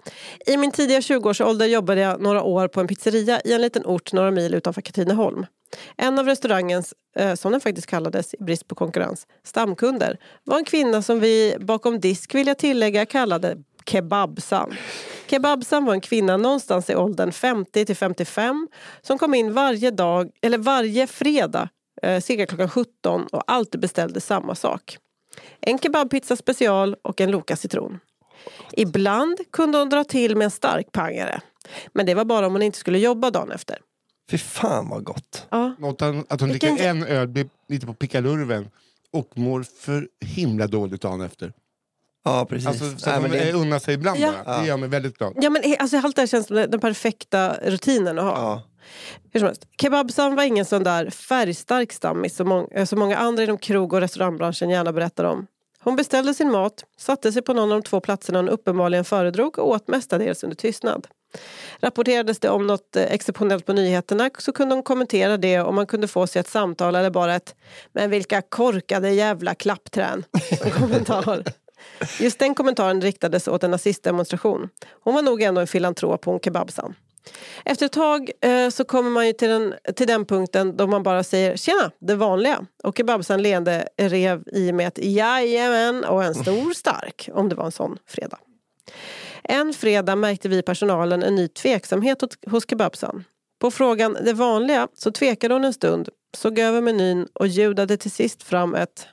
I min tidiga 20-årsålder jobbade jag några år på en pizzeria i en liten ort några mil utanför Katrineholm. En av restaurangens, eh, som den faktiskt kallades i brist på konkurrens, stamkunder var en kvinna som vi bakom disk, vill jag tillägga, kallade Kebabsan. Kebabsan var en kvinna någonstans i åldern 50 till 55 som kom in varje dag, eller varje fredag eh, cirka klockan 17 och alltid beställde samma sak. En kebabpizza special och en Loka citron. Ibland kunde hon dra till med en stark pangare. Men det var bara om hon inte skulle jobba dagen efter.
Fy fan vad gott.
Ja,
Något an- att hon
Vilken-
dricker en öl, blir lite på pickalurven och mår för himla dåligt dagen efter.
Ja, precis.
Alltså, så
Nej,
att
men
hon
det-
eh, unnar sig ibland
Ja.
bara. Det gör mig väldigt glad.
ja men eh, alltså, allt det här känns som den den perfekta rutinen att ha.
ja.
Hur som helst, kebabsan var ingen sån där färgstark stammis som, mång- eh, som många andra inom krog och restaurangbranschen gärna berättar om. Hon beställde sin mat, satte sig på någon av de två platserna hon uppenbarligen föredrog och åt mestadels under tystnad. Rapporterades det om något eh, exceptionellt på nyheterna så kunde hon kommentera det och man kunde få sig ett samtal eller bara ett “men vilka korkade jävla klappträn” som kommentar. Just den kommentaren riktades åt en nazistdemonstration. Hon var nog ändå en filantrop, hon kebabsan. Efter ett tag eh, så kommer man ju till den, till den punkten då man bara säger tjena, det vanliga. Och kebabsan leende rev i med ett jajamän och en stor stark, om det var en sån fredag. En fredag märkte vi i personalen en ny tveksamhet hos- hos kebabsan. På frågan det vanliga så tvekade hon en stund, såg över menyn och ljudade till sist fram ett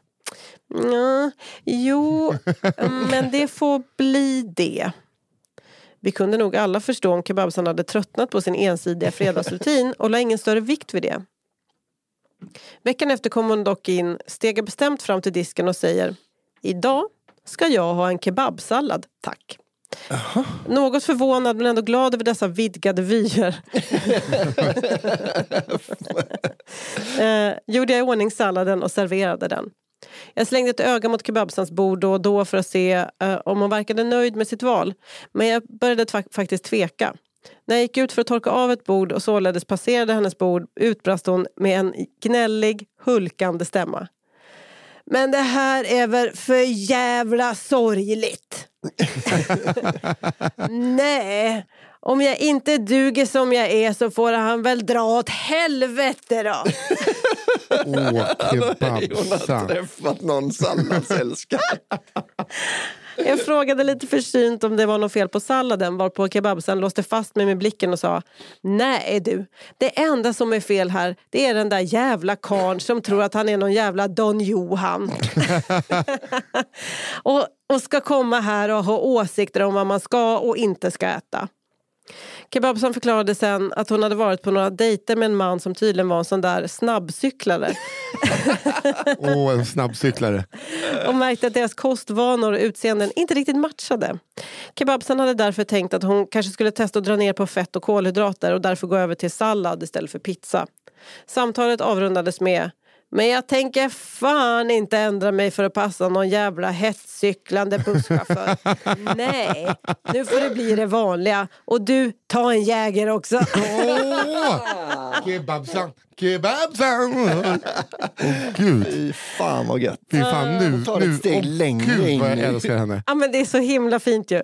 "Nja, Jo, men det får bli det. Vi kunde nog alla förstå om kebabsan hade tröttnat på sin ensidiga fredagsrutin och la ingen större vikt vid det. Veckan efter kom hon dock in, stegar bestämt fram till disken och säger Idag ska jag ha en kebabsallad, tack. Något förvånad men ändå glad över dessa vidgade vyer eh, gjorde jag i ordning salladen och serverade den. Jag slängde ett öga mot kebabsans bord då och då för att se eh, om hon verkade nöjd med sitt val. Men jag började tva- faktiskt tveka. När jag gick ut för att torka av ett bord och således passerade hennes bord utbrast hon med en gnällig, hulkande stämma. Men det här är väl för jävla sorgligt! Nej, om jag inte duger som jag är så får han väl dra åt helvete då!
Åh,
Hon har
kebabsan.
träffat någon salladsälskare.
Jag frågade lite försynt om det var något fel på salladen varpå kebabsen låste fast mig med blicken och sa Nej du, det enda som är fel här det är den där jävla karn som tror att han är någon jävla Don Johan. och, och ska komma här och ha åsikter om vad man ska och inte ska äta. Kebabsan förklarade sen att hon hade varit på några dejter med en man som tydligen var en sån där snabbcyklare
Åh, en snabbcyklare.
och märkte att deras kostvanor och utseenden inte riktigt matchade. Kebabsan hade därför tänkt att hon kanske skulle testa att dra ner på fett och kolhydrater och därför gå över till sallad istället för pizza. Samtalet avrundades med men jag tänker fan inte ändra mig för att passa någon jävla hetscyklande busschaufför. Nej, nu får det bli det vanliga. Och du, ta en Jäger också.
Åh, kebabsan, kebabsan. Åh, gud.
Fy fan vad gött.
Fy fan, nu...
tar
nu
Ah, ett steg
åh,
längre
Gud, vad
in
jag
i-
älskar henne.
Ja, men det är så himla fint ju.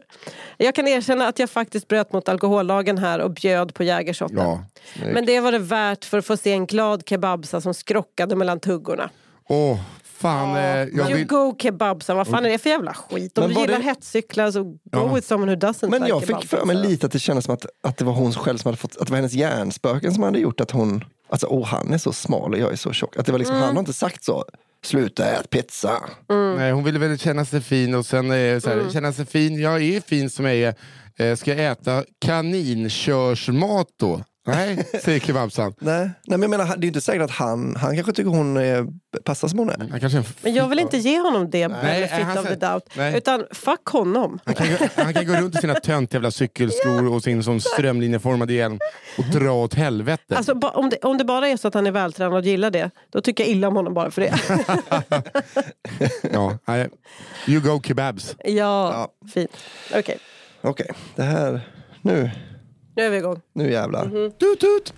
Jag kan erkänna att jag faktiskt bröt mot alkohollagen här och bjöd på jägershotten.
Ja.
Men det var det värt för att få se en glad kebabsa som skrockade mellan tuggorna.
Åh, fan. eh, jag
you
vill...
go kebabsa, vad fan är det för jävla skit? Om
Men
du
var
gillar
det-
hetscyklar så go
Ja.
with someone who doesn't
Men
like
jag fick
kebabsa.
för mig lite att det kändes som att, att det var hon själv som hade fått, att det var hennes hjärnspöken som hade gjort att hon, alltså åh han är så smal och jag är så tjock. Att det var liksom, han har inte sagt så, sluta ät pizza.
Nej, hon ville väl känna sig fin och sen eh, så här,
Mm.
känna sig fin. Jag är fin som jag är. Eh, Ska jag äta kaninkörsmat då? Nej, säger kebabsan.
Nej. Nej men jag menar, det är ju inte säkert att han, han kanske tycker hon eh, passar som hon är.
Han kanske är en f-
Men jag vill inte ge honom det benefit
han
of the
säger-
doubt.
nej.
Utan fuck honom.
han kan, gå- han kan gå runt i sina töntiga jävla cykelskor och sin som strömlinjeformade hjälm och dra åt helvete.
Alltså, ba- om, det, om det bara är så att han är vältränad och gillar det, då tycker jag illa om honom bara för det. ja,
Ja, nej. you go kebabs.
fint. Okej,
Okej, det här, nu,
nu är vi igång.
nu jävlar. Tut tut!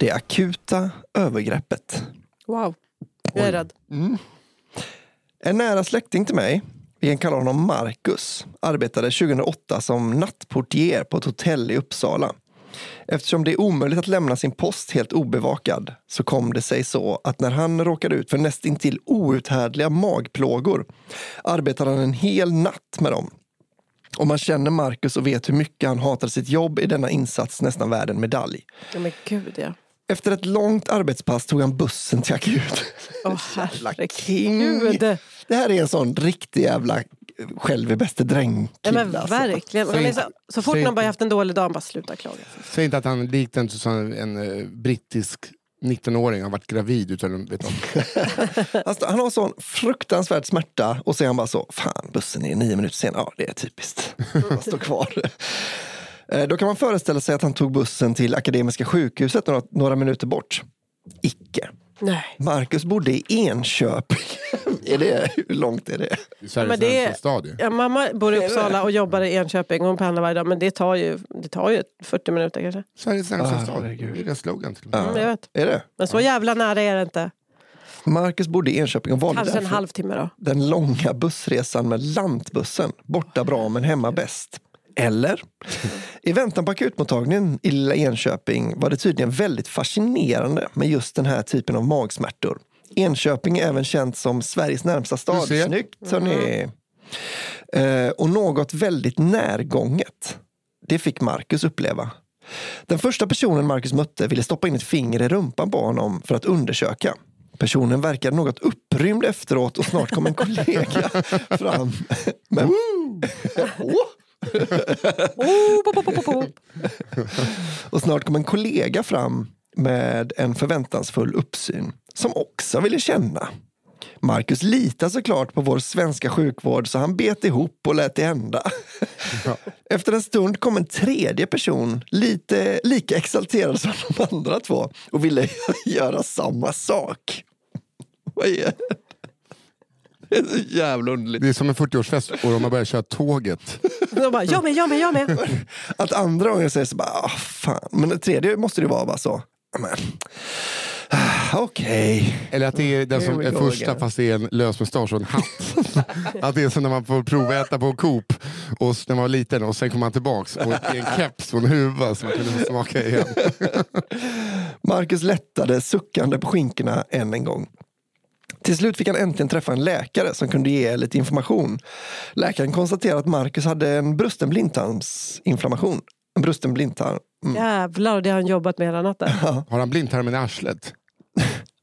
Det akuta övergreppet.
Wow, jag är rädd.
En nära släkting till mig, vi kan kalla honom Marcus, arbetade 2008 som nattportier på ett hotell i Uppsala. Eftersom det är omöjligt att lämna sin post helt obevakad så kom det sig så att när han råkade ut för nästintill outhärdliga magplågor arbetade han en hel natt med dem. Och man känner Marcus och vet hur mycket han hatar sitt jobb är denna insats nästan värd en medalj.
Ja, men gud ja.
Efter ett långt arbetspass tog han bussen till akut.
Åh
King.
herregud.
Mm. Det här är en sån riktig jävla själv är bäste alltså. dräng
Ja, men verkligen.
Säg
Man är
inte-
så, så fort
säg
någon bara
inte-
haft en dålig dag, man bara sluta klaga.
Säg inte att han likt en, en, en eh, brittisk 19-åring har varit gravid. Utan, vet du.
Alltså, han har sån fruktansvärd smärta och så är han bara så, fan bussen är nio minuter sen. Ja, det är typiskt. Han står kvar. Eh, Då kan man föreställa sig att han tog bussen till Akademiska sjukhuset några, några minuter bort. Icke.
Nej.
Marcus bodde i Enköping. är det, hur långt är det?
Sveriges
Men det-
äldsta stad ju.
Ja, mamma bor i Uppsala och jobbar i Enköping. Hon pendlar varje dag, men det tar ju, det tar ju 40 minuter kanske.
Sveriges äldsta
Ah,
stad. Det
herregud.
är deras slogan till och med.
Mm, jag vet.
Är det?
Men så jävla nära är det inte.
Marcus bodde i Enköping och valde
Kanske en
därför
halvtimme då.
den långa bussresan med lantbussen. Borta bra men hemma bäst. Eller? I väntan på akutmottagningen i lilla Enköping var det tydligen väldigt fascinerande med just den här typen av magsmärtor. Enköping är även känt som Sveriges närmsta stad.
ser.
Snyggt, hörni! Eh, och något väldigt närgånget. Det fick Marcus uppleva. Den första personen Marcus mötte ville stoppa in ett finger i rumpan på honom för att undersöka. Personen verkade något upprymd efteråt och snart kom en kollega fram. Men... Åh!
Oh, pop, pop, pop, pop, pop.
Och snart kom en kollega fram med en förväntansfull uppsyn som också ville känna. Marcus litar såklart på vår svenska sjukvård så han bet ihop och lät det hända. Efter en stund kom en tredje person, lite lika exalterad som de andra två och ville göra samma sak. Vad är det? Det är så jävla underligt.
Det är som en 40-årsfest och de har börjat köra tåget.
De bara, jag med, jag med, jag med.
Att andra gången säger så bara, ah, fan. Men den tredje måste det vara bara så. Men, ah, okej.
Eller att det är den som
Here we
är
go
första
again.
fast det är en lös mustasch och en hatt. att det är som när man får proväta på Coop och s- när man var liten och sen kommer man tillbaks och det är en keps och en huva som man kunde smaka igen.
Marcus lättade suckande på skinkorna än en gång. Till slut fick han äntligen träffa en läkare som kunde ge lite information. Läkaren konstaterade att Marcus hade en brusten blindtarmsinflammation. En brusten blindtarm. Mm.
Jävlar, det har han jobbat med hela natten.
Har han blindtarmen i arslet?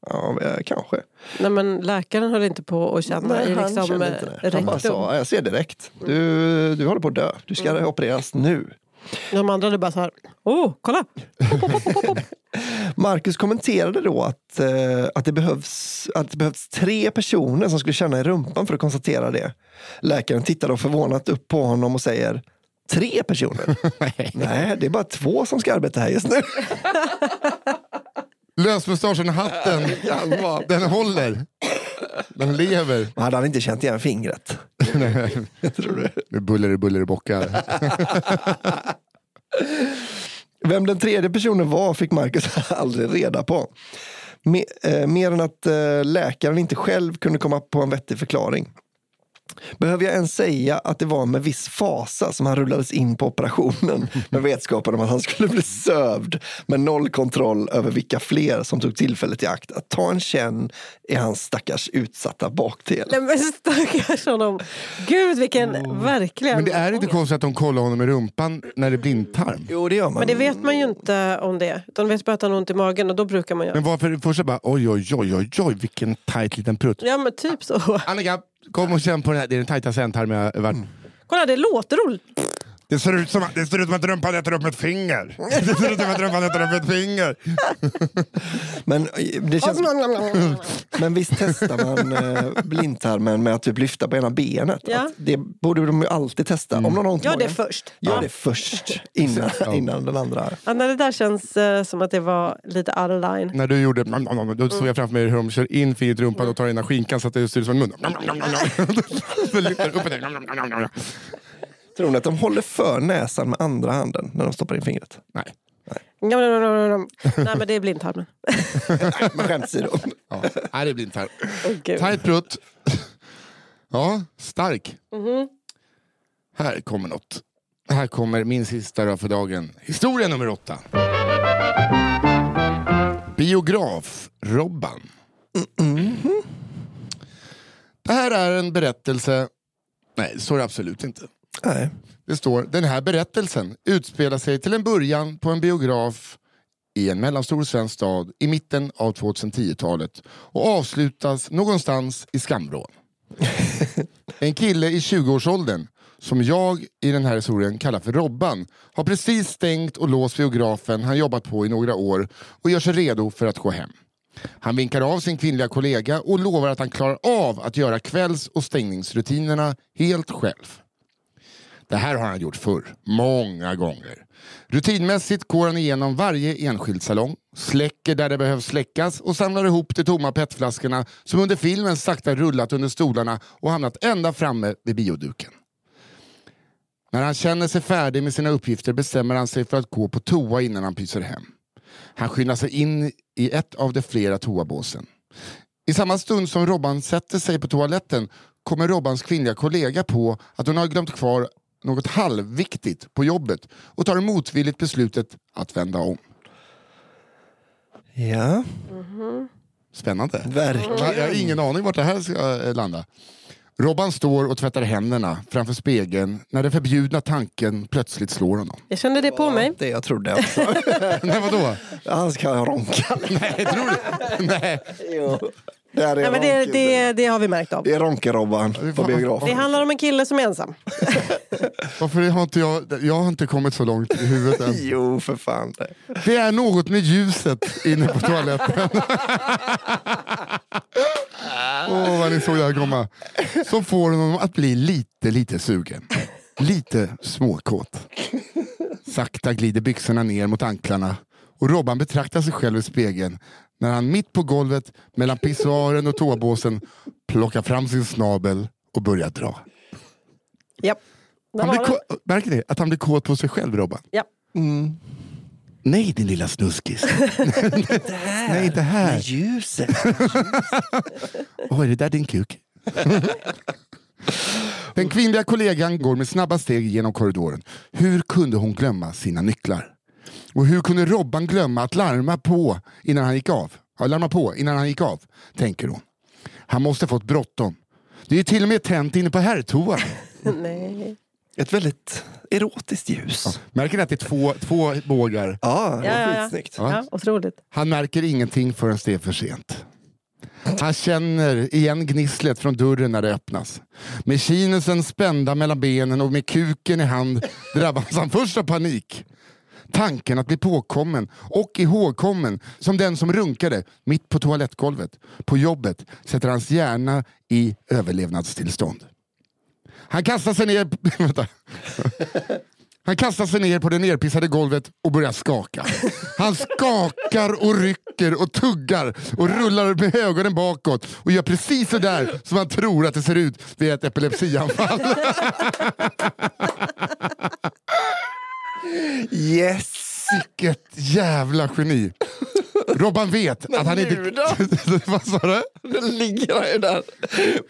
Ja, eh, kanske.
Nej, men läkaren höll inte på att känna i
han
liksom,
kände
eh,
inte det. Han bara
rektum.
sa, jag ser direkt. Du, du håller på att dö. Du ska opereras nu.
De andra hade bara så här, oh, kolla! Pop, pop, pop, pop, pop, pop.
Marcus kommenterade då att, eh, att, det behövs, att det behövs tre personer som skulle känna i rumpan för att konstatera det. Läkaren tittar då förvånat upp på honom och säger Tre personer? Nej, det är bara två som ska arbeta här just nu.
Lösmustaschen, hatten, den håller. Den lever.
Men hade han inte känt igen fingret?
Nu buller det buller det bockar.
Vem den tredje personen var fick Marcus aldrig reda på. Me, eh, mer än att eh, läkaren inte själv kunde komma på en vettig förklaring. Behöver jag ens säga att det var med viss fasa som han rullades in på operationen med vetskapen om att han skulle bli sövd med noll kontroll över vilka fler som tog tillfället i akt att ta en känn i hans stackars utsatta bakdel.
Nej men stackars honom. Gud vilken, verkligen.
Men det är inte konstigt att de kollar honom i rumpan när det är blindtarm.
Jo, det gör man.
Men det vet man ju inte om det. De vet bara att han har ont i magen och då brukar man göra.
Men varför först bara oj, oj, oj, oj, oj, vilken tajt liten prutt.
Ja men typ så.
Annika, kom och känn på den här. Det är den tajtaste ändtarmen jag har varit.
Kolla det låter roligt.
Mm. Det ser ut som att, det ser ut som att rumpan äter upp ett finger. Det ser ut som att rumpan äter upp ett finger.
Men, eh, det känns... Men visst testar man eh, blindtarmen med att typ lyfta på ena benet?
Ja.
Att det borde de ju alltid testa. Om någon har ont i
Gör det
magen,
först.
Gör det först innan, innan den andra.
Ja, nej, det där känns eh, som att det var lite out of line.
När du gjorde nom, nom, nom, då såg jag framför mig hur de kör in fingret i rumpan och tar ena skinkan så att det ser ut som en mun. Nom, nom, nom, nom, nom. Så lyfter upp det. Nom, nom, nom, nom, nom.
Tror ni att de håller för näsan med andra handen när de stoppar in fingret?
Nej.
Nej men det är blindtarmen.
Men skämtsidå.
Ja. Nej, det blir inte här.
Åh, gud.
Tajt prutt. Ja, stark. Här kommer något. Här kommer min sista då för dagen. Historia nummer åtta. Biograf-Robban. Det här är en berättelse... Nej, så är det absolut inte.
Nej.
Det står den här berättelsen utspelar sig till en början på en biograf i en mellanstor svensk stad i mitten av 2010-talet och avslutas någonstans i skamvrån. en kille i 20-årsåldern som jag i den här historien kallar för Robban har precis stängt och låst biografen han jobbat på i några år och gör sig redo för att gå hem. Han vinkar av sin kvinnliga kollega och lovar att han klarar av att göra kvälls och stängningsrutinerna helt själv. Det här har han gjort förr, många gånger. Rutinmässigt går han igenom varje enskild salong, släcker där det behövs släckas och samlar ihop de tomma petflaskorna som under filmen sakta rullat under stolarna och hamnat ända framme vid bioduken. När han känner sig färdig med sina uppgifter bestämmer han sig för att gå på toa innan han pyser hem. Han skyndar sig in i ett av de flera toabåsen. I samma stund som Robban sätter sig på toaletten kommer Robbans kvinnliga kollega på att hon har glömt kvar något halvviktigt på jobbet och tar motvilligt beslutet att vända om.
Ja,
Spännande. Jag jag har
verkligen.
ingen aning vart det här ska eh, landa. Robban står och tvättar händerna framför spegeln när den förbjudna tanken plötsligt slår honom.
Jag kände det på mig.
Det jag trodde också.
Nej, vadå?
Han ska ronka.
Nej, tror du? Nej.
Det här är
Nej, men det,
ronken.
det, det har vi märkt av.
Det är Ronke-Robban på
fan-
Det
biografen.
handlar om en kille som är ensam.
Varför har inte jag, jag har inte kommit så långt i huvudet än.
Jo, för fan.
Det är något med ljuset inne på toaletten. Åh, vad ni såg det här komma. Som får honom att bli lite, lite sugen. Lite småkåt. Sakta glider byxorna ner mot anklarna och Robban betraktar sig själv i spegeln när han mitt på golvet mellan pissoaren och tåbåsen plockar fram sin snabel och börjar dra.
Ja. Där
Han
var
blir
den.
kå- Märker ni att han blir kåt på sig själv, Robban?
Ja.
Nej din lilla snuskis. Nej det här.
Ljuset.
Åh, är det där din kuk? Den kvinnliga kollegan går med snabba steg genom korridoren. Hur kunde hon glömma sina nycklar? Och hur kunde Robban glömma att larma på innan han gick av? Ja, larma på innan han gick av, tänker hon. Han måste fått bråttom. Det är ju till och med tänt inne på herrtoan.
Nej.
Ett väldigt erotiskt ljus.
Märker ni att det är två, två bågar?
Ja, det
Ja, ja,
var
ja.
skitsnyggt.
Ja, otroligt.
Han märker ingenting förrän det är för sent. Han känner igen gnisslet från dörren när det öppnas. Med kinesen spända mellan benen och med kuken i hand drabbas han först av panik. Tanken att bli påkommen och ihågkommen som den som runkade mitt på toalettgolvet på jobbet sätter hans hjärna i överlevnadstillstånd. Han kastar sig ner... vänta. Han kastar sig ner på det nerpissade golvet och börjar skaka. Han skakar och rycker och tuggar och rullar med ögonen bakåt och gör precis så där som han tror att det ser ut vid ett epilepsianfall.
Yes!
Vilket jävla geni. Robban vet att han
nu
inte...
då?
Vad sa du?
Den ligger han ju där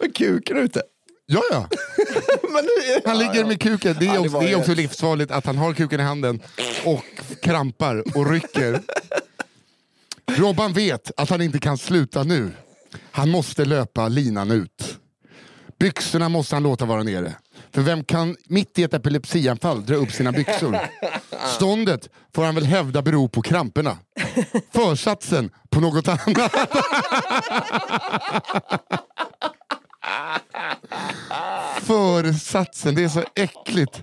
med kuken ute.
Ja, ja.
Men det,
Han ligger med kuken. Det
Ja,
är,
det
också,
var
det är
ju-
också livsfarligt att han har kuken i handen och krampar och rycker. Robban vet att han inte kan sluta nu. Han måste löpa linan ut. Byxorna måste han låta vara nere. För vem kan mitt i ett epilepsianfall dra upp sina byxor? Ståndet får han väl hävda beror på kramperna. Försatsen på något annat. Försatsen, det är så äckligt.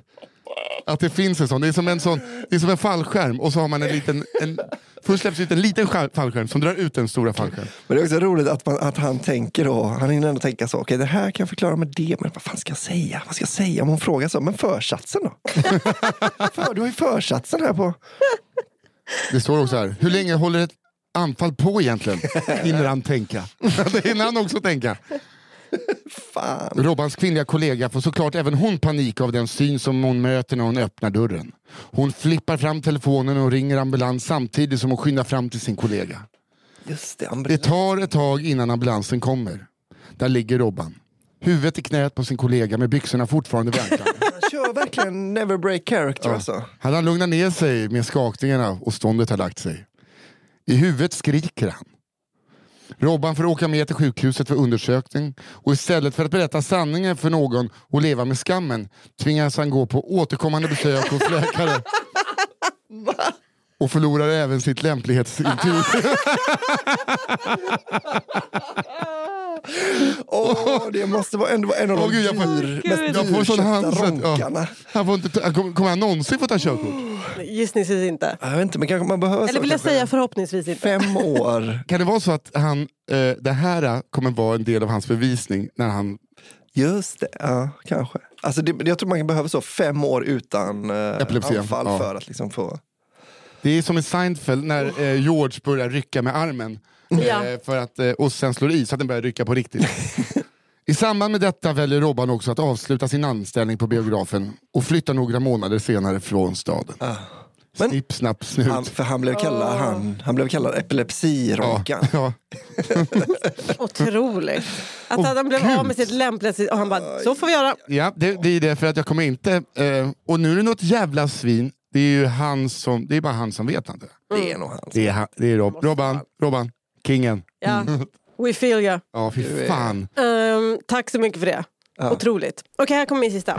Att det finns en sån. Det är som en, sån, det är som en fallskärm och så har man en liten... En, först släpps ut en liten skär- fallskärm som drar ut den stora fallskärmen.
Men det är också roligt att, man, att han tänker då, han hinner ändå tänka så, okej det här kan jag förklara med det, men vad fan ska jag säga? Vad ska jag säga? Om hon frågar så, men försatsen då? För, du har ju försatsen här på.
Det står också här, hur länge håller ett anfall på egentligen? Hinner han tänka? Det hinner han också tänka.
Fan.
Robbans kvinnliga kollega får såklart även hon panik av den syn som hon möter när hon öppnar dörren. Hon flippar fram telefonen och ringer ambulans samtidigt som hon skyndar fram till sin kollega.
Just det,
Det
Ambrit.
tar ett tag innan ambulansen kommer. Där ligger Robban. Huvudet i knät på sin kollega med byxorna fortfarande vid anklarna.
Han kör verkligen never break character alltså.
Han har lugnat ner sig med skakningarna och ståndet har lagt sig. I huvudet skriker han. Robban får åka med till sjukhuset för undersökning och istället för att berätta sanningen för någon och leva med skammen tvingas han gå på återkommande besök hos läkare. Och förlorar även sitt lämplighetsintyg.
Åh, det måste vara ändå en av de
Åh, gud, jag får-
dyr,
Gud.
mest
Jag får sån
dyrköpta
handsvett.
ronkarna.
Ja. Han får inte ta- han Kommer kommer han någonsin få ta körkort?
Gissningsvis inte.
Jag vet inte, men kanske man behöver
Eller
så
vill Alltså, jag säga
kanske
förhoppningsvis inte.
fem år.
Kan det vara så att han, eh, det här kommer vara en del av hans bevisning när han
Just det, ja kanske. Alltså det, jag tror man behöver så fem år utan eh,
Epilepsi,
anfall
ja.
för att liksom få...
Det är som i Seinfeld när eh, George börjar rycka med armen
Oh. Ja.
eh, för att, eh, och sen slår i så att den börjar rycka på riktigt. I samband med detta väljer Robban också att avsluta sin anställning på biografen och flyttar några månader senare från staden.
Ah. Men-
Snipp, snapp, snut.
Han, för han blev kallad, han, han blev kallad epilepsironkan.
Ja.
Otroligt. Att
Åh,
han blev
gud.
av med sitt lämplighets... Och han bara, så får vi göra.
Ja, det blir det för att jag kommer inte... Eh, och nu är det något jävla svin. Det är ju han som... Det är bara han som vet han det.
Det är nog hans.
Mm.
Det är, han, det är Rob, Robban, Robban, kingen.
Ja. We feel ya.
Ja,
Du
fy
är-
fan.
Ehm, tack så mycket för det.
Ja.
Otroligt. Okej, här kommer min sista.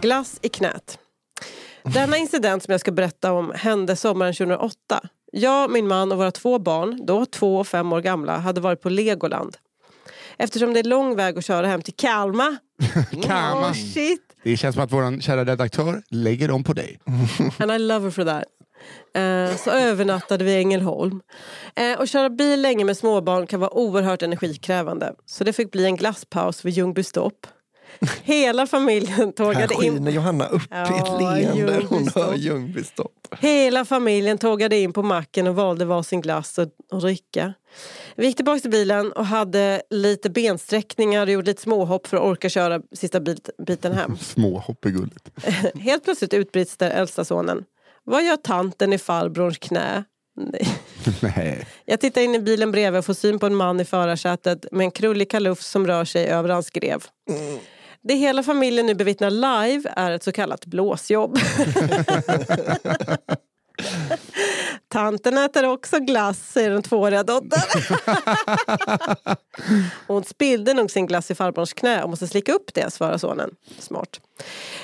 Glass i knät. Denna incident som jag ska berätta om hände sommaren 2008. Jag, min man och våra två barn, då två och fem år gamla, hade varit på Legoland. Eftersom det är lång väg att köra hem till Kalmar.
Kama.
Oh shit!
Det känns som att vår kära redaktör lägger dem på dig.
And I love her for that. Eh, så övernattade vi i Ängelholm. Eh, att köra bil länge med småbarn kan vara oerhört energikrävande. Så det fick bli en glasspaus vid Ljungby stopp. Hela familjen
Här
tågade in,
skiner Johanna upp i ett
Ja,
leende. Hon
Ljungbystopp.
hör Ljungbystopp.
hela familjen tågade in på macken och valde varsin glass och, och dricka. Vi gick tillbaka till bilen och hade lite bensträckningar och gjorde lite småhopp för att orka köra sista bit, biten hem.
Småhopp är gulligt.
Helt plötsligt utbrister äldsta sonen. Vad gör tanten i farbrorns knä? Nej.
Nej.
Jag tittar in i bilen bredvid och får syn på en man i förarsätet med en krullig kalufs som rör sig över hans grev. Det hela familjen nu bevittnar live är ett så kallat blåsjobb. Tanten äter också glass, säger den tvååriga dottern. Hon spillde nog sin glass i farbrorns knä och måste slicka upp det, svarar sonen. Smart.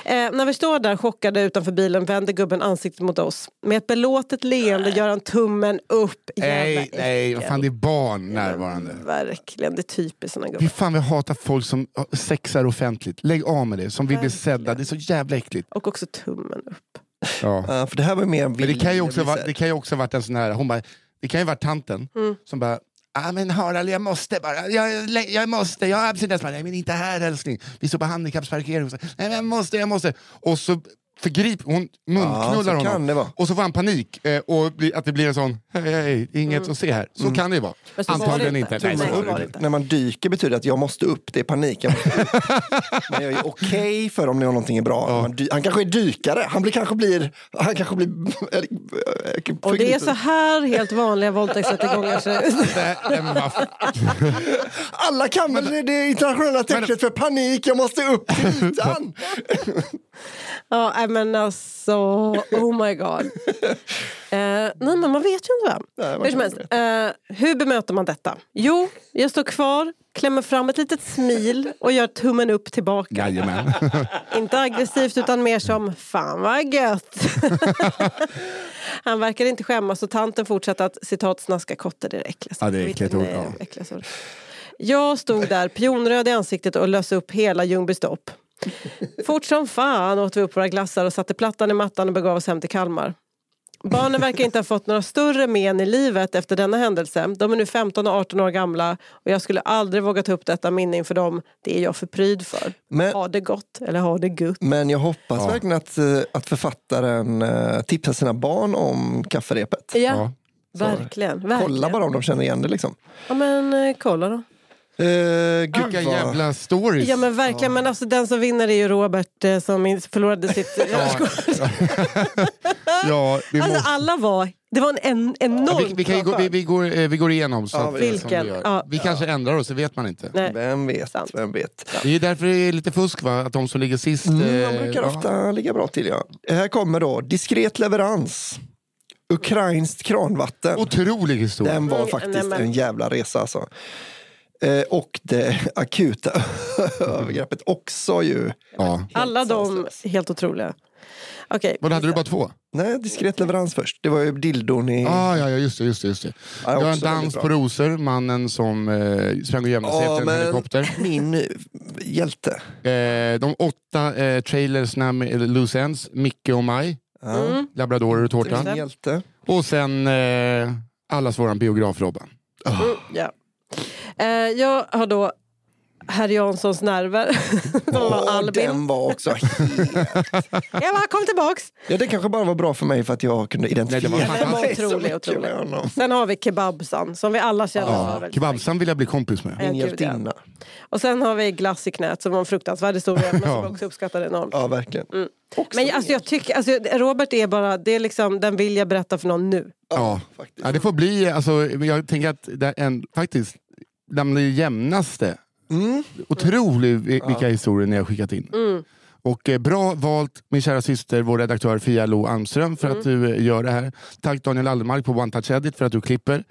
Eh, när vi står där chockade utanför bilen vänder gubben ansiktet mot oss. Med ett belåtet leende gör han tummen upp. Jävla
Nej, nej, vad
äckel.
fan det är barn närvarande.
Verkligen, det är typiskt såna
Fy
gubbar.
fan vi hatar folk som sexar offentligt. Lägg av med det, som vill bli sedda. Det är så jävla äckligt.
Och också tummen upp.
Ja.
Ja, för det här var ju mer en
Men det kan ju
vilja
också
bli
vara,
sedd.
det kan ju också varit en sån här, hon bara, det kan ju varit tanten
Mm.
som bara Ja men Harald jag måste bara, jag, jag måste, jag har abstinens. Bara, Nej men inte här älskling, vi står på handikappsparkering. Så, Nej men jag måste, jag måste. Och så förgriper hon,
Ja, så
munknullar
kan
honom.
det vara.
Och så får han panik eh, och bli, att det blir en sån, hej hej, inget
Mm.
att se här. Så kan det ju vara.
Men så var det
Antagligen
inte.
inte. Nej, så
Nej,
var det
var
inte.
det inte.
När man dyker betyder det att jag måste upp, det är panik. Jag måste upp. Men jag är okej för om någonting är bra. Man dy- Han kanske är dykare, han blir, kanske blir... Han kanske blir
Och det är så här helt vanliga våldtäktsrättegångar ser ut.
Nej, men vad
Alla kan väl det- det internationella tecknet för panik, jag måste upp till ytan!
Ja, nej, men alltså, oh my god. Eh, nej, men man vet ju inte.
Nej,
Va?
man
Hur, som
kan
helst, eh, hur bemöter man detta? Jo, jag står kvar, klämmer fram ett litet smil och gör tummen upp tillbaka.
Jajamän.
Inte aggressivt utan mer som “Fan vad gött!” Han verkar inte skämmas och tanten fortsatte att citat “snaska kotte” det är det äckligaste.
Ja, det är äckligt ord,
Nej,
ja.
äckligaste ord. Jag stod där pionröd i ansiktet och lös upp hela Ljungby stopp. Fort som fan åt vi upp våra glassar och satte plattan i mattan och begav oss hem till Kalmar. Barnen verkar inte ha fått några större men i livet efter denna händelse. De är nu 15 och 18 år gamla och jag skulle aldrig våga ta upp detta minne inför dem. Det är jag för pryd för.
Men-
ha det gott eller ha det gött.
Men jag hoppas verkligen att, eh, att författaren eh, tipsar sina barn om kafferepet.
Ja,
Ja.
verkligen. verkligen.
Kolla bara om de känner igen det. Liksom.
Ja, men eh, kolla då.
Eh, gud,
Vilka
vad-
jävla stories.
Ja, men verkligen. Men alltså, den som vinner är ju Robert eh, som in- förlorade sitt...
Ja. ja, vi,
alltså,
måste,
alla var... Det var en, en
Ja,
enorm
vi, vi, kan ju
bra
gå, vi,
skörd.
vi, går, eh, vi går igenom. Så
Ja,
att,
vi-
som
Vilken?
Vi, gör.
Ja.
vi kanske ändrar oss, det vet man inte.
Nej.
Vem vet,
Sant.
vem vet.
Det är ju därför det är lite fusk, va? att de som ligger sist...
Mm, de
eh,
brukar
ja.
ofta ligga bra till. Ja. Här kommer då diskret leverans. Ukrainskt kranvatten.
Otrolig historia.
Den var
Mm, nej,
faktiskt
men-
en jävla resa alltså. Eh, och det akuta övergreppet också ju.
Ja.
Alla de
sanslös.
helt otroliga. Okej.
Vad hade du bara två?
Nej, diskret leverans först. Det var ju dildon i...
Ah, ja, ja, just det. Just det, just det.
Ja,
det var en
också väldigt
dans
bra.
på rosor, mannen som eh, sprang och gömde sig
Ja,
efter en helikopter.
min eh, hjälte.
Eh, de åtta eh, trailersna med loose ends, Micke och Maj,
Ja,
Mm,
labradorer och tårta.
Min hjälte.
Och sen eh, allas våran biograf Robban.
Ja. Eh, jag har då herr Janssons nerver. Som var
Åh,
Albin.
den var också...
Jag bara, kom tillbaks!
Ja, det kanske bara var bra för mig för att jag kunde identifiera
Nej, det var
mig
fantastiskt.
så
Otrolig,
mycket
otrolig.
med honom.
Sen har vi Kebabsan som vi alla känner för.
Ja,
väldigt mycket.
Kebabsan vill jag bli kompis med.
Min
Ja, gud, ja.
hjältinna.
Och sen har vi Glass i knät som var en fruktansvärd historia men som
Ja.
jag också uppskattade enormt.
Ja, verkligen. Också
Men jag- alltså, jag tycker, alltså, Robert är bara, det är liksom, den vill jag berätta för någon nu.
Ja.
faktiskt.
Ja, det får bli, alltså, jag tänker att det är en, faktiskt, bland det jämnaste.
Mm.
Otrolig vi- vilka historier ni har skickat in. Och eh, bra valt min kära syster, vår redaktör Fia Lo Almström för att du eh, gör det här. Tack Daniel Aldermark på One Touch Edit för att du klipper.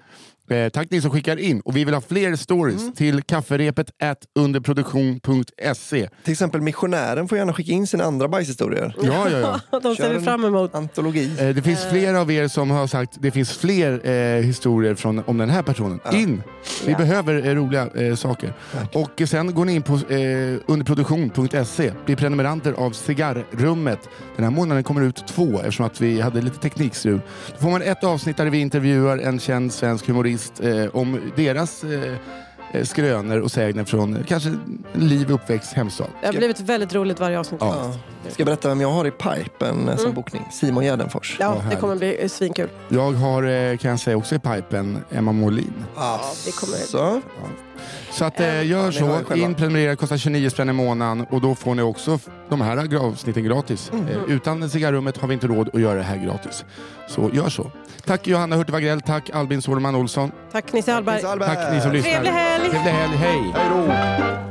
Eh, tack ni som skickar in. Och vi vill ha fler stories till kafferepet at underproduktion.se.
Till exempel missionären får gärna skicka in sina andra bajshistorier.
Ja, ja, ja.
De Mm, ser
Kör
vi
en
fram emot.
Antologi.
Eh, Det finns flera av er som har sagt det finns fler eh, historier från, om den här personen. In! Vi
Ja.
behöver eh, roliga eh, saker. Och eh, sen går ni in på eh, underproduktion.se. Bli prenumeranter av Cigarrummet. Den här månaden kommer det ut två eftersom att vi hade lite teknikstrul. Då får man ett avsnitt där vi intervjuar en känd svensk humorist eh, om deras eh, eh, skrönor och sägner från eh, kanske liv, uppväxt, hemstad.
Det har blivit väldigt roligt varje avsnitt.
Ja.
Ja. Ska jag berätta vem jag har i pipen eh, som
Mm.
bokning? Simon Gärdenfors.
Ja, det
härligt.
kommer bli eh, svinkul.
Jag har, eh, kan jag säga också i pipen, Emma Molin.
Ja,
det kommer-
Så.
Så att, eh,
Ja,
gör
ni hör
så.
själva.
In, prenumerera, kostar 29 spänn i månaden och då får ni också f- de här gra- avsnitten gratis.
Mm.
Eh, utan cigarrummet har vi inte råd att göra det här gratis. Så gör så. Tack Johanna Hurtig Wagrell, tack Albin Solman Olsson,
Tack Nisse Hallberg.
Nils Hallberg.
tack ni som lyssnar.
Trevlig helg!
Trevlig helg, hej!
Hej då!
Hej.